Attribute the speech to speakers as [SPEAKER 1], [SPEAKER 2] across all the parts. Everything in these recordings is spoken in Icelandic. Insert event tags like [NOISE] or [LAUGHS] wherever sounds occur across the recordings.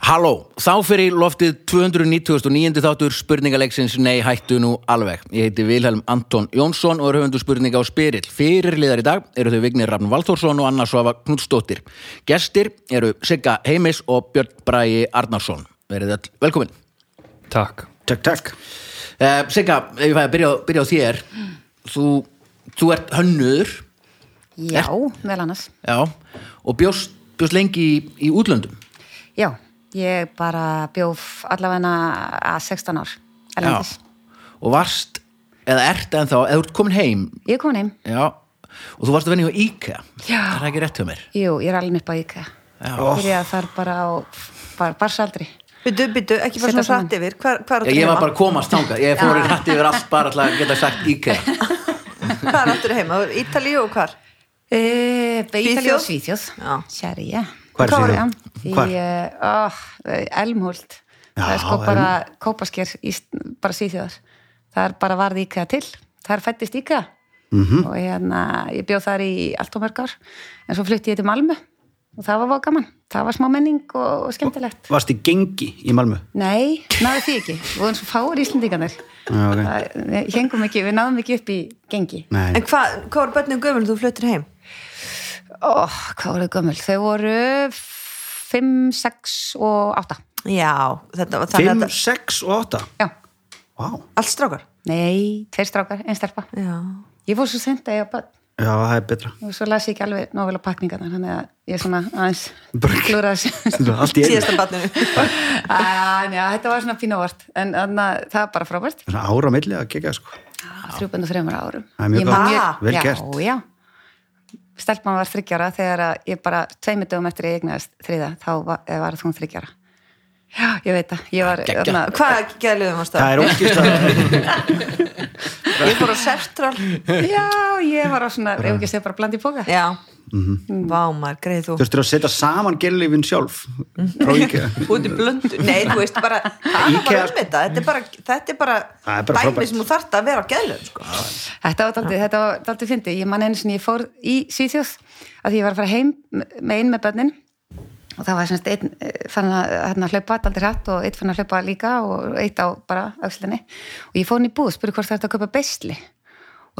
[SPEAKER 1] Halló, þá fyrir loftið 299. þáttur spurningaleiksins Nei, hættu nú alveg. Ég heiti Vilhelm Anton Jónsson og er höfundu spurninga á Spyrill. Fyrirliðar í dag eru þau Vignir Rafn Valþórsson og Anna Svafa Knudsdóttir. Gestir eru Sigga Heimis og Björn Bragi Arnarsson. Verið öll velkomin.
[SPEAKER 2] Takk
[SPEAKER 3] Takk, takk.
[SPEAKER 1] Uh, Sigga, ef ég fæði að byrja, á- byrja á þér. Þú, þú ert hönnur,
[SPEAKER 4] Já, meðal annars.
[SPEAKER 1] já, og bjóst, bjóst lengi í, í útlöndum.
[SPEAKER 4] Já, ég bara bjóf allavegna að 16 ár. Erlendis.
[SPEAKER 1] Já. Og varst, eða ert ennþá, eða þú ert komin heim
[SPEAKER 4] Ég er komin heim.
[SPEAKER 1] Já, og þú varst að vinna hjá IKEA
[SPEAKER 4] Já.
[SPEAKER 1] Það er ekki rétt hjá mér
[SPEAKER 4] Jú, ég er alveg upp á IKEA.
[SPEAKER 1] Já.
[SPEAKER 4] Byrjaði þar bara á bara, barsaldri.
[SPEAKER 5] Byttu, byttu, ekki fara
[SPEAKER 4] Setja
[SPEAKER 5] svona
[SPEAKER 4] saman.
[SPEAKER 5] hratt yfir Hvar,
[SPEAKER 1] Ég,
[SPEAKER 5] hvar áttu
[SPEAKER 1] ég var
[SPEAKER 5] heima?
[SPEAKER 1] bara að komast þangað Ég fór í rætti yfir allt bara alltaf að geta sagt
[SPEAKER 4] [LAUGHS]
[SPEAKER 1] IKEA
[SPEAKER 5] Hvar áttur heima? Ítali og hvar?
[SPEAKER 4] E, Ítalíu og
[SPEAKER 5] Svíþjóð?
[SPEAKER 4] Svíþjóð.
[SPEAKER 5] Já.
[SPEAKER 4] Sér ég.
[SPEAKER 3] Hvar í
[SPEAKER 4] var
[SPEAKER 3] Svíþjóð?
[SPEAKER 4] ég? Í
[SPEAKER 3] Hvar?
[SPEAKER 4] uh, Elmhult. það
[SPEAKER 3] Já,
[SPEAKER 4] er sko bara kópasker, í, bara Svíþjóðar. Það er bara varð IKEA til. Það er fættist IKEA.
[SPEAKER 3] Mhm.
[SPEAKER 4] -hmm. Og hérna, ég bjóð þar í allt og mörg ár. En svo flutti ég til Malmö og það var vá gaman. Það var smá menning og, og skemmtilegt.
[SPEAKER 3] Varst í gengi í Malmö?
[SPEAKER 4] Nei, náðu því ekki. Við vorum svo fáir Íslendingarnir.
[SPEAKER 3] Já, ok.
[SPEAKER 4] Það- Við hengum ekki, við náðum ekki upp í gengi.
[SPEAKER 3] Nei.
[SPEAKER 5] En hvað, hvað var börnum gömul þú fluttir heim?
[SPEAKER 4] Ó, hvað voru þau gömul? Þau voru 5, 6 og 8.
[SPEAKER 5] Já, þetta var þannig að
[SPEAKER 3] 5,
[SPEAKER 5] þetta
[SPEAKER 3] 6 og 8?
[SPEAKER 4] Já.
[SPEAKER 3] Vá.
[SPEAKER 5] Allt strákar?
[SPEAKER 4] Nei, tveir strákar, einn stelpa.
[SPEAKER 5] Já
[SPEAKER 4] Ég fór svo sent að ég að börn
[SPEAKER 3] Já, það er betra.
[SPEAKER 4] og svo las ég ekki alveg nóvel á pakningarnar, þannig að ég er svona aðeins
[SPEAKER 3] Bara-
[SPEAKER 4] klúra
[SPEAKER 3] [LAUGHS]
[SPEAKER 4] þessu.
[SPEAKER 3] Þetta er Allt í einu.
[SPEAKER 5] Síðasta
[SPEAKER 1] [LAUGHS]
[SPEAKER 5] barninu
[SPEAKER 4] Æ, Já, þetta var svona pínu vort, en þannig að það er bara frábært.
[SPEAKER 3] Svona ára milli að gegja, sko.
[SPEAKER 4] þrjúbund og þreymur árum
[SPEAKER 3] Það er mjög
[SPEAKER 4] Ég man
[SPEAKER 5] gott.
[SPEAKER 4] mjög-
[SPEAKER 3] Ah, vel
[SPEAKER 4] já,
[SPEAKER 3] gert.
[SPEAKER 4] já. stelpan var þryggjara þegar að ég bara tveimur dögum eftir að ég eignaðist þriða þá var, eh, var hún þryggjara já, ég veit það ég var öfna,
[SPEAKER 5] Hvað gæluðum hans
[SPEAKER 3] Það
[SPEAKER 5] það?
[SPEAKER 3] er ógislega. [LAUGHS]
[SPEAKER 5] Ég fór á Sertral
[SPEAKER 4] já, ég var á svona, ef ekki að segja bara bland í póka
[SPEAKER 5] Já
[SPEAKER 1] Mhm.
[SPEAKER 5] Vá maður, greið þú
[SPEAKER 3] Þurftur að setja saman gerlifin sjálf
[SPEAKER 5] Mhm.
[SPEAKER 3] frá IKEA.
[SPEAKER 5] Út í blöndu Nei, þú veist
[SPEAKER 1] [LAUGHS]
[SPEAKER 5] bara Það var
[SPEAKER 3] Ikea-
[SPEAKER 5] um þetta Þetta er bara, þetta er bara,
[SPEAKER 3] Það er bara
[SPEAKER 5] dæmi
[SPEAKER 3] frábært.
[SPEAKER 5] sem þú þarft að vera á gæluðum sko.
[SPEAKER 4] þetta var daldið, þetta var daldið fyndi ég man einu sinni, ég fór í Svíþjóð að ég var að fara heim með einn með börnin og það var semst einn eh, fann að, hérna, að hlaupa daldið hratt og einn fann að hlaupa líka og eitt á bara aukslinni og ég fór hann í búð, spurði hvort það er að kaupa beisli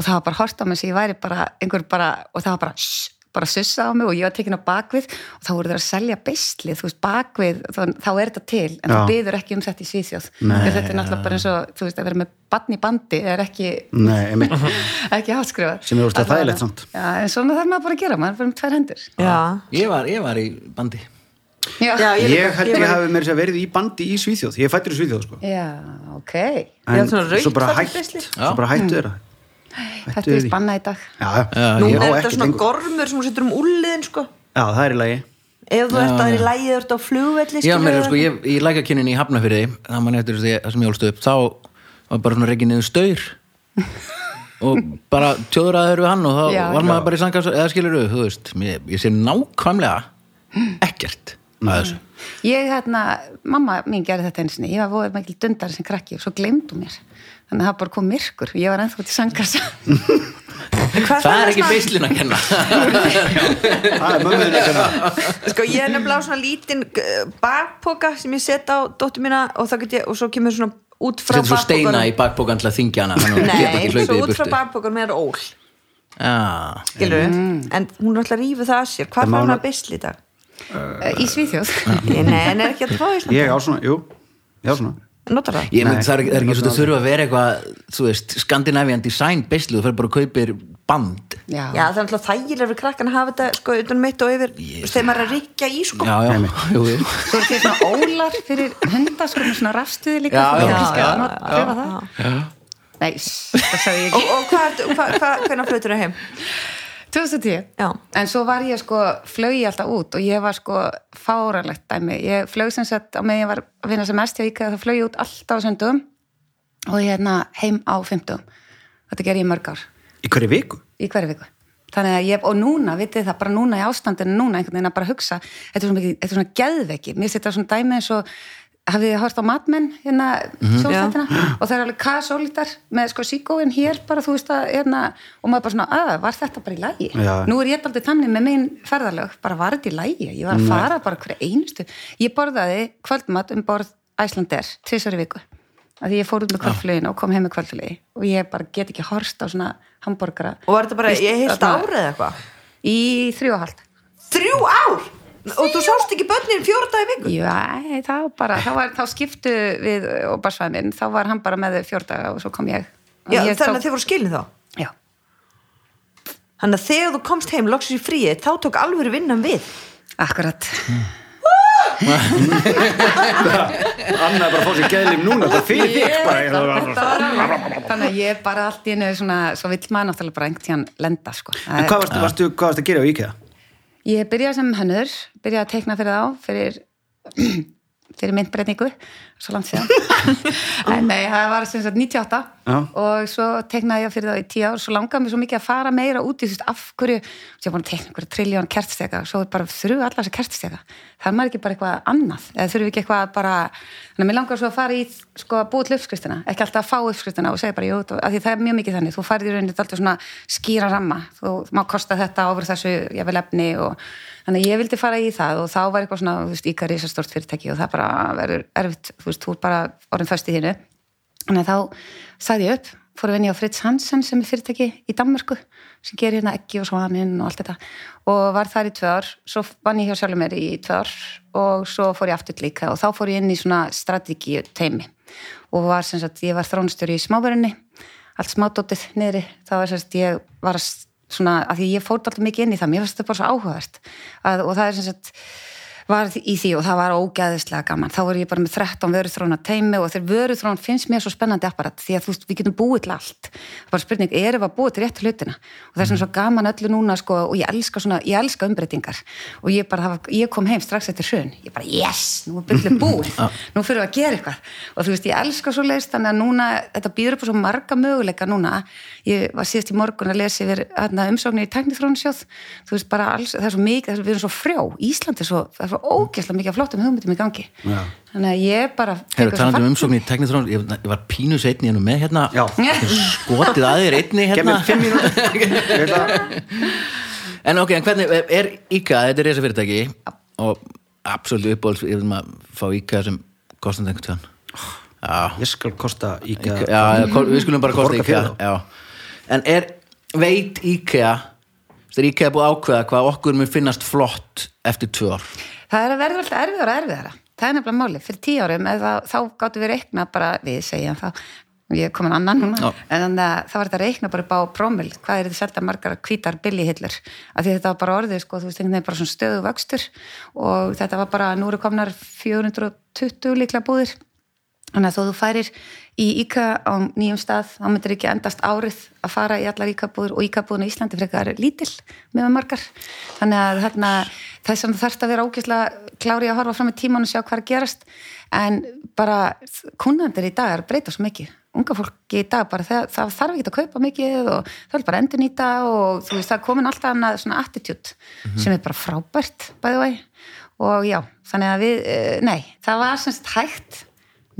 [SPEAKER 4] og það var bara hort á mig sem ég væri bara einhver bara, og það var bara shh, bara sussa á mig og ég var tekin á bakvið og þá voru þeir að selja beislið, þú veist, bakvið þá, þá er þetta til, en það
[SPEAKER 3] Já.
[SPEAKER 4] byður ekki um þetta í Svíþjóð,
[SPEAKER 3] Nei,
[SPEAKER 4] En þetta er náttúrulega bara eins og, þú veist, að vera með barn í bandi er ekki
[SPEAKER 3] Nei, einmitt.
[SPEAKER 5] Mhm.
[SPEAKER 4] [LAUGHS] ekki hátskrifa
[SPEAKER 3] Sem er óslega þægilegt samt.
[SPEAKER 4] já, en svona þarf maður bara að gera, maður er bara um tvær hendur
[SPEAKER 5] Já
[SPEAKER 1] ég var, ég var í bandi
[SPEAKER 4] já, já,
[SPEAKER 3] Ég held ég hafi mér sér verið í bandi í Svíþjóð. Ég er fættur í Svíþjóð, sko.
[SPEAKER 4] ok
[SPEAKER 5] Ég
[SPEAKER 3] En
[SPEAKER 5] held svona rautt
[SPEAKER 3] svo bara hætt,
[SPEAKER 5] fallegt beisli. Mm.
[SPEAKER 3] svo bara hættu þeirra.
[SPEAKER 4] þetta er vist bannað í dag
[SPEAKER 3] Já,
[SPEAKER 5] Nú
[SPEAKER 3] ég á
[SPEAKER 5] er þetta
[SPEAKER 3] ekkert
[SPEAKER 5] svona
[SPEAKER 3] lengur.
[SPEAKER 5] gormur sem þú setur um úliðin sko.
[SPEAKER 3] Já, það er í lagi.
[SPEAKER 5] Ef þú ert að það er í lægi, þú ert á flugvelli
[SPEAKER 1] ég var meira
[SPEAKER 5] skilurðu.
[SPEAKER 1] sko, ég, ég læka kyninni í Hafnafyrði það mann eftir því það sem ég ólst upp þá var bara svona reikin niður
[SPEAKER 4] [LAUGHS]
[SPEAKER 1] staur og bara tjóðraður við hann og þá
[SPEAKER 4] Já.
[SPEAKER 1] var maður bara í sangast eða skilur þú, veist, ég, ég sé
[SPEAKER 4] [GASPS]
[SPEAKER 1] nákvæmlega ekkert að þessu
[SPEAKER 4] ég, hérna, mamma mín gerði þetta eins og ég var voðið mikil dundar sem krakki og svo glemdu mér þannig að það bara kom myrkur ég var ennþá til sangasa
[SPEAKER 5] En hvað
[SPEAKER 1] það er ekki hérna.
[SPEAKER 5] svona-
[SPEAKER 1] beislin að
[SPEAKER 5] [LAUGHS]
[SPEAKER 1] kenna
[SPEAKER 3] Það er hérna. mömmuðin ekki hana.
[SPEAKER 5] Sko ég er nefnilega á svona lítinn eh, bakpoka sem ég set á dóttur mína og, þá get ég, og svo kemur svona út frá
[SPEAKER 1] setur svo steina í
[SPEAKER 5] bakpokanum-
[SPEAKER 1] bakbókan til að þingja hana þannig að hún geta
[SPEAKER 5] Nei,
[SPEAKER 1] ekki
[SPEAKER 5] svo
[SPEAKER 1] hlaupið í
[SPEAKER 5] út frá
[SPEAKER 1] burtu
[SPEAKER 5] bakpokanum er ól
[SPEAKER 1] Já.
[SPEAKER 5] Skilur En hún er alltaf að rífa það að sér
[SPEAKER 3] Það má
[SPEAKER 5] Hvað fann
[SPEAKER 3] nú-
[SPEAKER 5] hún að beisli í dag?
[SPEAKER 4] í Svíþjóð
[SPEAKER 5] Ég- Nei, en er ekki að það fá Ísland
[SPEAKER 3] Ég á svona, jú. Ég á svona.
[SPEAKER 5] Notar það?
[SPEAKER 1] Ég myndi
[SPEAKER 3] Nei,
[SPEAKER 1] það er ekki, það er ekki
[SPEAKER 3] ég
[SPEAKER 1] svo að
[SPEAKER 3] notaði
[SPEAKER 1] þurfa að vera eitthvað, þú veist, Scandinavian design beislu, þú fyrir bara og kaupir band.
[SPEAKER 4] já,
[SPEAKER 5] Já, það er alltaf þægilega fyrir krakkan að hafa þetta sko utan mitt og yfir yes. þegar maður er að ríkja í sko
[SPEAKER 1] Já, já, [LAUGHS] jú, jú.
[SPEAKER 4] svo er þetta svona ólar fyrir hunda sko, með svona rafstuði líka
[SPEAKER 1] Já,
[SPEAKER 4] Þannig
[SPEAKER 1] já,
[SPEAKER 4] að kannski
[SPEAKER 1] já,
[SPEAKER 4] að not- prufa það. nei, sss, það sagði ég
[SPEAKER 5] Og,
[SPEAKER 4] ekki
[SPEAKER 5] og hvað, ertu- hvað, hvað, hvernig flutur það heim?
[SPEAKER 4] 2010
[SPEAKER 5] Já.
[SPEAKER 4] en svo var ég sko, flög ég alltaf út og ég var sko fáralegt dæmi ég flög sem sagt, á meðan ég var að vinna sem mest hjá IKEA, þá flög ég út alltaf á söndum og hérna heim á fymtum þetta ger ég í mörg ár,
[SPEAKER 3] Í hverju viku?
[SPEAKER 4] í hverju viku þannig að ég, og núna, vitið það, bara núna í ástandinu núna einhvern veginn að bara hugsa, þetta er svona, mikið- þetta er svona geðveiki, mér setja svona dæmi eins og hafið þið hort á matmenn hérna sjónstættina og það er alveg kasólítar með sko síkóin hér bara þú veist að hérna og maður bara svona að var þetta bara í lægi
[SPEAKER 3] Já.
[SPEAKER 4] nú er ég aldrei þannig með megin ferðalög bara var þetta í lægi, ég var að fara bara hverja einustu ég borðaði kvöldmat um borð Æslander tvisar í viku af því ég fór út með kvöldflögin og kom heim með kvöldflögi og ég bara get ekki horst á svona hambúrgara
[SPEAKER 5] og var þetta bara, ég heilt
[SPEAKER 4] Þarna-
[SPEAKER 5] árið eitthvað
[SPEAKER 4] í þrjú og hálft
[SPEAKER 5] þrjú ár og þú sást ekki börnin fjóra dag í viku
[SPEAKER 4] Já, ei, það var bara, þá, var, þá skiptu við og barsvæði minn, þá var hann bara með þau fjórdaga og svo kom ég. Og
[SPEAKER 5] já,
[SPEAKER 4] ég
[SPEAKER 5] þannig að
[SPEAKER 4] tók-
[SPEAKER 5] þið voru skilin þá
[SPEAKER 4] Já,
[SPEAKER 5] þannig að þegar þú komst heim loksins í fríi þá tók alvöru vinnan við
[SPEAKER 4] akkurat.
[SPEAKER 3] Anna er bara að fá sér geðlim núna Það er fyrir þig bara ég er
[SPEAKER 4] Þetta
[SPEAKER 3] það-
[SPEAKER 4] var alveg- Þannig að ég bara allt í einu svona, svo vill maður náttúrulega bara einhvern tíðan lenda, sko.
[SPEAKER 3] En hvað varstu, varstu, hvað varstu að gera á IKEA?
[SPEAKER 4] Ég byrjaði sem hönnur, byrjaði að teikna fyrir þá, fyrir, fyrir [CLEARS THROAT] myndbreyningu, svo langt síðan. [LAUGHS] en nei, það var sem sagt 98
[SPEAKER 3] Já.
[SPEAKER 4] og svo teiknaði ég fyrir þá í 10 ár, svo langaði mér svo mikið að fara meira út í þú veist af hverju, ég var búin að teikna einhverja triljón kertstega, svo bara þurfu allar þessi kertstega. Það er maður ekki bara eitthvað annað, eða þurfu ekki eitthvað að bara, þannig að mér langar svo að fara í, sko, að búa til uppskristina, ekki alltaf að fá uppskristina og segja bara, jú, þú- af því það er mjög mikið þannig, þú færði í rauninni alltaf svona skýra ramma, þú má kosta þetta ofur þessu, ég vil efni og þannig að ég vildi fara í það og þá var eitthvað svona, þú veist, íka risastort fyrirtæki og það bara verður erfitt, þú veist, þú er bara orðin föst í þínu. Þannig að þá sagði ég upp, fór að vinja á Fritz Hansen sem er fyrirtæki í Danmörku sem gerir hérna ekki og svaninn og allt þetta og var þar í tvö ár, svo vann ég hjá sjálfur mér í tvö ár og svo fór ég aftur til líka og þá fór ég inn í svona strategíu teimi og var sem sagt, ég var þrónstjóri í smáverunni allt smádótið niðri, þá var sem sagt ég var að s- svona, af því ég fór alltaf mikið inn í það, mér fannst þetta bara svo áhugavert að, og það er sem sagt var í því og það var ógæðislega gaman þá voru ég bara með 13 vöruþróna teimi og þegar vöruþrón finnst mér svo spennandi apparat því að þú veist, við getum búið til allt það er bara spurning, erum við að búið til rétt hlutina og það er svona svo gaman öllu núna sko, og ég elska, svona, ég elska umbreytingar og ég, bara, það var- ég kom heim strax eftir hrun ég bara, yes, nú er byrjuð búið nú fyrir við að gera eitthvað og þú veist, ég elska svo leist þannig að núna, þetta býður upp á svo marga möguleika núna ég var síðast í morgun að lesa yfir hérna, umsóknir í tæknithrónasjóð þú veist bara alls, það er svo mikið, það er, við erum svo frjó Ísland er svo, það er svo ógeðslega mikið af flottum hugmyndum í gangi
[SPEAKER 3] Já.
[SPEAKER 4] þannig að ég bara
[SPEAKER 1] Hefur talandi um umsókn í teknitrón ég, ég var pínu seinni hérna með hérna
[SPEAKER 3] Já.
[SPEAKER 4] [LAUGHS]
[SPEAKER 1] skotið að þér einni
[SPEAKER 3] Gef
[SPEAKER 1] hérna
[SPEAKER 3] mér fimm
[SPEAKER 1] [LAUGHS]
[SPEAKER 3] mínútur
[SPEAKER 1] En ok, en hvernig, er IKEA, þetta er reysa fyrirtæki og absolutt uppáhalds ég vil maður fá IKEA sem kostar einhvern tján Já,
[SPEAKER 3] Ég skal kosta
[SPEAKER 1] IKEA,
[SPEAKER 3] IKEA
[SPEAKER 1] já ko- við skulum bara kosta
[SPEAKER 3] Borga
[SPEAKER 1] IKEA
[SPEAKER 3] fyrir þá.
[SPEAKER 1] já. En er, veit IKEA þegar IKEA er búið að ákveða hvað okkur mér finnast flott eftir tvö ár
[SPEAKER 4] Það er að verða alltaf erfiðara og erfiðara. Það er nefnilega máli. Fyrir tíu árum, eða, þá gáttum við reikna bara, við segjum þá, ég er komin annan núna,
[SPEAKER 1] Já.
[SPEAKER 4] en þannig að það var þetta að reikna bara upp á promil, hvað er þetta selta margar hvítar billighillur, af því þetta var bara orðið, sko, þú veist, einhvern veginn bara svona stöðu vöxtur og þetta var bara, nú eru komnar 420 líklega búðir Þannig að þó þú færir í IKA á nýjum stað, þá myndir ekki endast árið að fara í allar IKA-búður og IKA-búðun á Íslandi frekar er lítil með margar. Þannig að þarna, þess að þarf að vera ógæslega klári að horfa fram í tíman og sjá hvað er að gerast en bara kunnandir í dag er að breyta svo mikið. Unga fólki í dag bara það, það þarf ekki að kaupa mikið og það er bara endur nýta og þú veist það er komin alltaf annað svona attitude sem er bara frábært bæði vei og já, þannig að við, eh, nei, það var semst hægt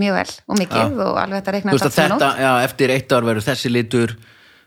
[SPEAKER 4] mjög vel og mikið og alveg þetta
[SPEAKER 1] Þú
[SPEAKER 4] reikna
[SPEAKER 1] veist að þetta, já, eftir eitt ár verður þessi litur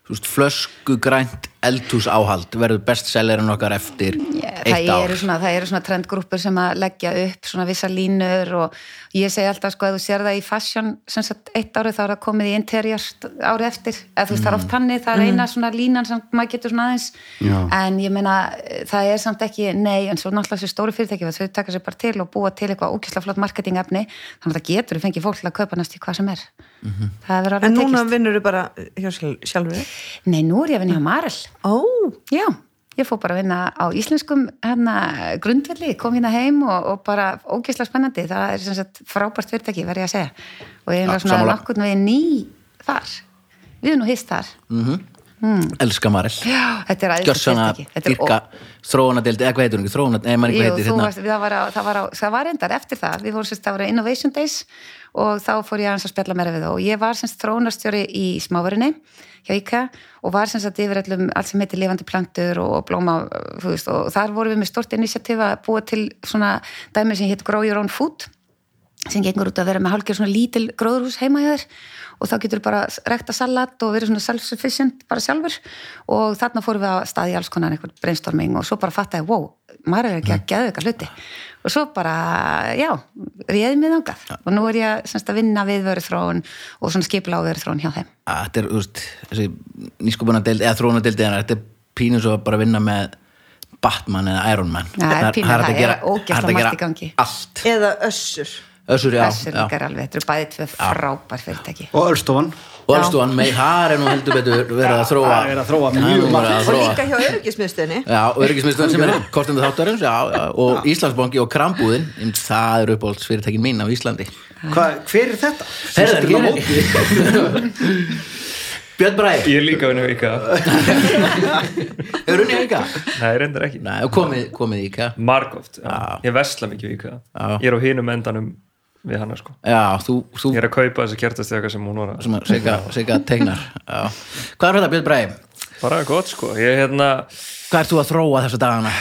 [SPEAKER 1] þú veist, flöskugrænt eldhús áhald verður bestsellerinn okkar eftir eitt
[SPEAKER 4] það
[SPEAKER 1] ár
[SPEAKER 4] eru, svona, það eru svona trendgrúpur sem að leggja upp svona vissa línur og ég segi alltaf sko að þú sér það í fashion sem sagt eitt árið þá er það komið í interior árið eftir, eða þú veist það
[SPEAKER 1] Mm.
[SPEAKER 4] er oft hannig það er eina svona línan sem maður getur svona aðeins
[SPEAKER 3] Já.
[SPEAKER 4] en ég meina eh, það er samt ekki nei, en svo náttúrulega þessu stóru fyrirtæki þau taka sér bara til og búa til eitthvað ókysla flott marketingefni, þannig að það getur fengið fólk til að kaupa næst í hvað sem er
[SPEAKER 1] Mhm.
[SPEAKER 4] það hefur alveg
[SPEAKER 5] en núna
[SPEAKER 4] tekist.
[SPEAKER 5] vinnur þau bara eh, hjá sjál- sjálfur þér?
[SPEAKER 4] Nei, nú er ég að vinna hjá Marel
[SPEAKER 5] ó,
[SPEAKER 4] Já, ég fór bara að vinna á íslenskum hérna, grundvelli, kom hérna heim og, og bara ógeðslega spennandi, það er sem sagt frábært fyrirtæki, verð ég að segja og ég er
[SPEAKER 1] Já,
[SPEAKER 4] ja, svona
[SPEAKER 1] sammála.
[SPEAKER 4] nokkurn veginn ný þar, við erum nú hist þar
[SPEAKER 1] Elska Marel
[SPEAKER 4] Já, þetta Mm. er aðeins
[SPEAKER 1] Gjörsana, dyrka, þróunadeldi eða hvað heitir hún ekki, þróunad, eða maður ekki
[SPEAKER 4] Jú,
[SPEAKER 1] hvað heitir
[SPEAKER 4] þú
[SPEAKER 1] hérna
[SPEAKER 4] varst, það var, á, það var, á, það var endar eftir það, við fórum sérst, það voru Innovation Days og þá fór ég aðeins að spjalla meira við þá og ég var sérst þróunarstjóri í smávarinni hjá IKEA og var sérst að yfir allum allt sem heitir lifandi plantur og blóma þú veist, og þar vorum við með stort initiatíf að búa til svona dæmi sem hétt Grow Your Own Food sem gengur út að vera með hálfgjör svona lítil gróðurhús heima hjá þér og þá getur bara rekta salat og verið svona self-sufficient bara sjálfur og þarna fórum við að staði alls konar einhver brainstorming og svo bara fattaði, wow, maður er ekki að geða eitthvað hluti og svo bara, já, réði mig þangað og nú er ég semst að vinna við vöruþróun og svona skipla á vöruþróun hjá þeim
[SPEAKER 1] að þetta er, þú veist, þessi nýskupunadeild eða þróunadeildi en þetta er pínu svo að bara vinna með Batman eða Iron Man Hérna,
[SPEAKER 4] Já, það er pínu
[SPEAKER 1] hægt
[SPEAKER 4] það,
[SPEAKER 1] að gera-
[SPEAKER 4] er ógeðslega
[SPEAKER 1] hægt að gera
[SPEAKER 4] margt í gangi.
[SPEAKER 1] allt,
[SPEAKER 5] eða össur
[SPEAKER 1] össur, já,
[SPEAKER 4] þessu líka
[SPEAKER 1] já.
[SPEAKER 4] er alveg, þetta eru bæði tvö frábær fyrirtæki
[SPEAKER 3] Og Ölstofan
[SPEAKER 1] og Ölstofan, með þar er nú heldur betur verið að þróa
[SPEAKER 3] það er að þróa
[SPEAKER 1] Það er nú
[SPEAKER 3] mjög
[SPEAKER 1] verið
[SPEAKER 3] margt.
[SPEAKER 1] að
[SPEAKER 5] og
[SPEAKER 1] þróa.
[SPEAKER 5] líka hjá öryggismiðstöðinni
[SPEAKER 1] Já, og öryggismiðstöðin sem er kostandi þáttarins já, já, og Íslandsbanki og Krambúðin em, það eru uppáhalds fyrirtækin mín á Íslandi
[SPEAKER 3] Hva, Hver er þetta?
[SPEAKER 1] Herðu,
[SPEAKER 3] Sestum á
[SPEAKER 1] ég-
[SPEAKER 3] móti.
[SPEAKER 1] Björn Bræði,
[SPEAKER 2] Ég er líka unni vika
[SPEAKER 1] hefur unni auka?
[SPEAKER 2] Nei, reyndar ekki
[SPEAKER 1] Nei, og komið, komið í IKEA
[SPEAKER 2] Margóft, ég vesla mikið vika
[SPEAKER 1] Já.
[SPEAKER 2] Ég er á hinum endanum við hana sko
[SPEAKER 1] Já, þú, þú
[SPEAKER 2] Ég er að kaupa þessi kjartastjaka sem hún var að
[SPEAKER 1] sem að segja, segja tegnar já. Hvað er þetta, Björn Bræði?
[SPEAKER 2] Bara gott sko, ég, hérna,
[SPEAKER 1] Hvað ert þú að þróa þessa dagana?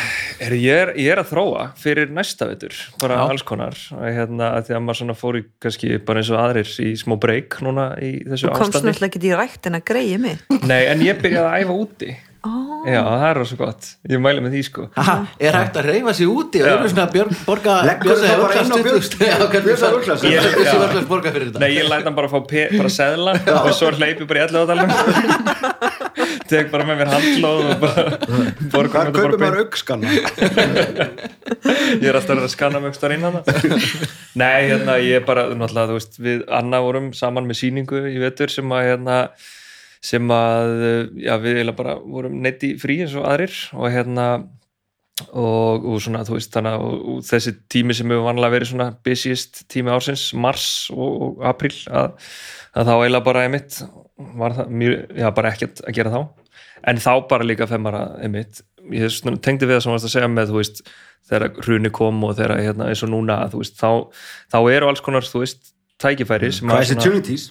[SPEAKER 2] er, ég, er, ég er að þróa fyrir næsta vetur, bara
[SPEAKER 1] Já.
[SPEAKER 2] alls konar Og hérna, að því að maður svona fór í kannski bara eins og aðrir í smó breyk núna í þessu
[SPEAKER 5] komst
[SPEAKER 2] ástandi
[SPEAKER 5] náttúrulega ekki í rækt en að greiði mig
[SPEAKER 2] Nei, en ég byrjaði að æfa úti
[SPEAKER 5] Ó.
[SPEAKER 2] Já, það er rosa gott, ég mæli með því sko
[SPEAKER 1] Aha, er hægt að reyfa sig úti og eru svona að Björn borga
[SPEAKER 3] Leggur
[SPEAKER 1] Björn
[SPEAKER 3] það bara
[SPEAKER 1] Örglas
[SPEAKER 3] inn á Björn-
[SPEAKER 1] 20.000? Já, hvernig
[SPEAKER 3] Björn
[SPEAKER 1] það-
[SPEAKER 3] Örglas?
[SPEAKER 1] Björn
[SPEAKER 2] Ég-
[SPEAKER 1] Björn
[SPEAKER 2] já.
[SPEAKER 1] Örglas borga fyrir þetta
[SPEAKER 2] Nei, ég læt hann bara fá pe, bara seðla og svo hleypi bara í allu átalum [LAUGHS] Tek bara með mér handlóð og bara borgum
[SPEAKER 3] Hvað
[SPEAKER 2] þetta bara
[SPEAKER 3] kaupir maður
[SPEAKER 2] beint.
[SPEAKER 3] aukskanna?
[SPEAKER 2] Ég er alltaf að vera að skanna mjög starf inn hana Nei, hérna, ég bara, náttúrulega, þú veist við Anna vorum saman með sýningu í vetur sem að, hérna sem að, já, við eiginlega bara vorum neitt í frí eins og aðrir og hérna og, og svona, þú veist, þannig að og, og þessi tími sem hefur vanlega verið svona busiest tími ársins, mars og, og april að, að þá eiginlega bara einmitt var það mjög, já, bara ekkert að gera þá en þá bara líka femmar að einmitt, ég svona tengdi við það sem varst að segja með, þú veist, þegar hruni kom og þegar, hérna, eins og núna, þú veist þá, þá eru alls konar, þú veist tækifæri sem að
[SPEAKER 3] Crisis
[SPEAKER 2] svona-
[SPEAKER 3] Tunities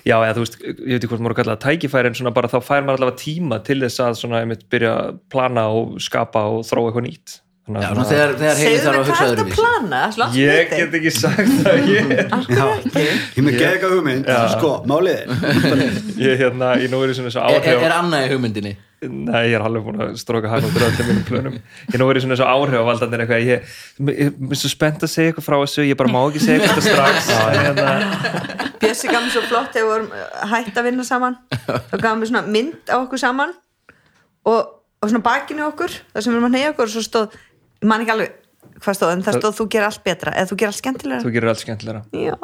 [SPEAKER 2] Já, eða þú veist, ég veit ekki hvort maður kallar það tækifæri en svona bara þá fær maður allavega tíma til þess að svona einmitt byrja að plana og skapa og þróa eitthvað nýtt. Þannig
[SPEAKER 1] Já, svona þegar, þegar heili
[SPEAKER 5] segðu
[SPEAKER 1] þarf
[SPEAKER 5] mig
[SPEAKER 1] að
[SPEAKER 5] hvað
[SPEAKER 1] hugsa
[SPEAKER 5] er þetta að
[SPEAKER 1] öðruvísi
[SPEAKER 5] plana Sláttu
[SPEAKER 2] Ég
[SPEAKER 5] við þig.
[SPEAKER 2] get ekki
[SPEAKER 1] [LAUGHS]
[SPEAKER 2] sagt það, ég,
[SPEAKER 3] Ég með geðega hugmynd, sko, málið er-
[SPEAKER 2] ég hérna, ég nú er í svona þessu
[SPEAKER 1] Er, er,
[SPEAKER 2] áhrif,
[SPEAKER 1] er annað í hugmyndinni?
[SPEAKER 2] nei, ég er alveg búin að stróka hann út úr öllum mínum plönum, ég nú er í svona þessu áhrif að valdandir eitthvað, ég, ég, ég er svo spennt að segja eitthvað frá þessu, ég bara má ekki segja eitthvað strax, en hérna,
[SPEAKER 5] Bjössi gaf mér svo flott þegar við vorum uh, hætt að vinna saman þá gaf mér svona mynd á okkur saman og, og svona bakinu okkur þar sem við erum að neyja okkur og svo stóð ég man ekki alveg hvað stóð en það stóð þú gerir allt betra eða þú gerir allt skemmtilega
[SPEAKER 2] þú gerir allt skemmtilega.
[SPEAKER 5] Já,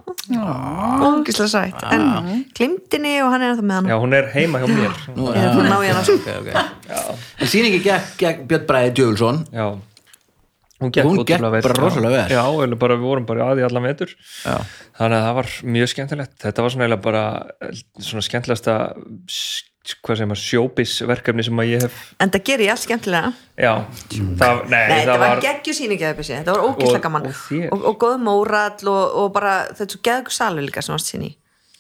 [SPEAKER 5] ógislega sætt en glimtinni og hann er ennþá með hann
[SPEAKER 2] Já, hún er heima hjá mér,
[SPEAKER 1] Nú,
[SPEAKER 5] Ég er búin að ná í hana, sko.
[SPEAKER 1] okay, okay. En sýningi gekk, gekk Björn Bræði Djöfulsson
[SPEAKER 2] Já, hún gekk,
[SPEAKER 1] Hún gekk
[SPEAKER 2] ótrúlega vel.
[SPEAKER 1] bara rosalega vel.
[SPEAKER 2] Já, eiginlega bara við vorum bara aði allan vetur
[SPEAKER 1] Já.
[SPEAKER 2] Þannig að það var mjög skemmtilegt Þetta var svona eiginlega bara eh, svona skemmtilegasta s- hvað segir maður, sjóbisverkefni sem að ég hef
[SPEAKER 5] en það gerir ég allt skemmtilega
[SPEAKER 2] Já, það, nei,
[SPEAKER 5] Nei,
[SPEAKER 2] það var
[SPEAKER 5] geggjusýningi að Bjössi, þetta var ógislega
[SPEAKER 2] Og-
[SPEAKER 5] gaman
[SPEAKER 2] og
[SPEAKER 5] og,
[SPEAKER 2] þér.
[SPEAKER 5] og, góð mórall og, og bara þetta er svo geðugur salur líka sem varst sinni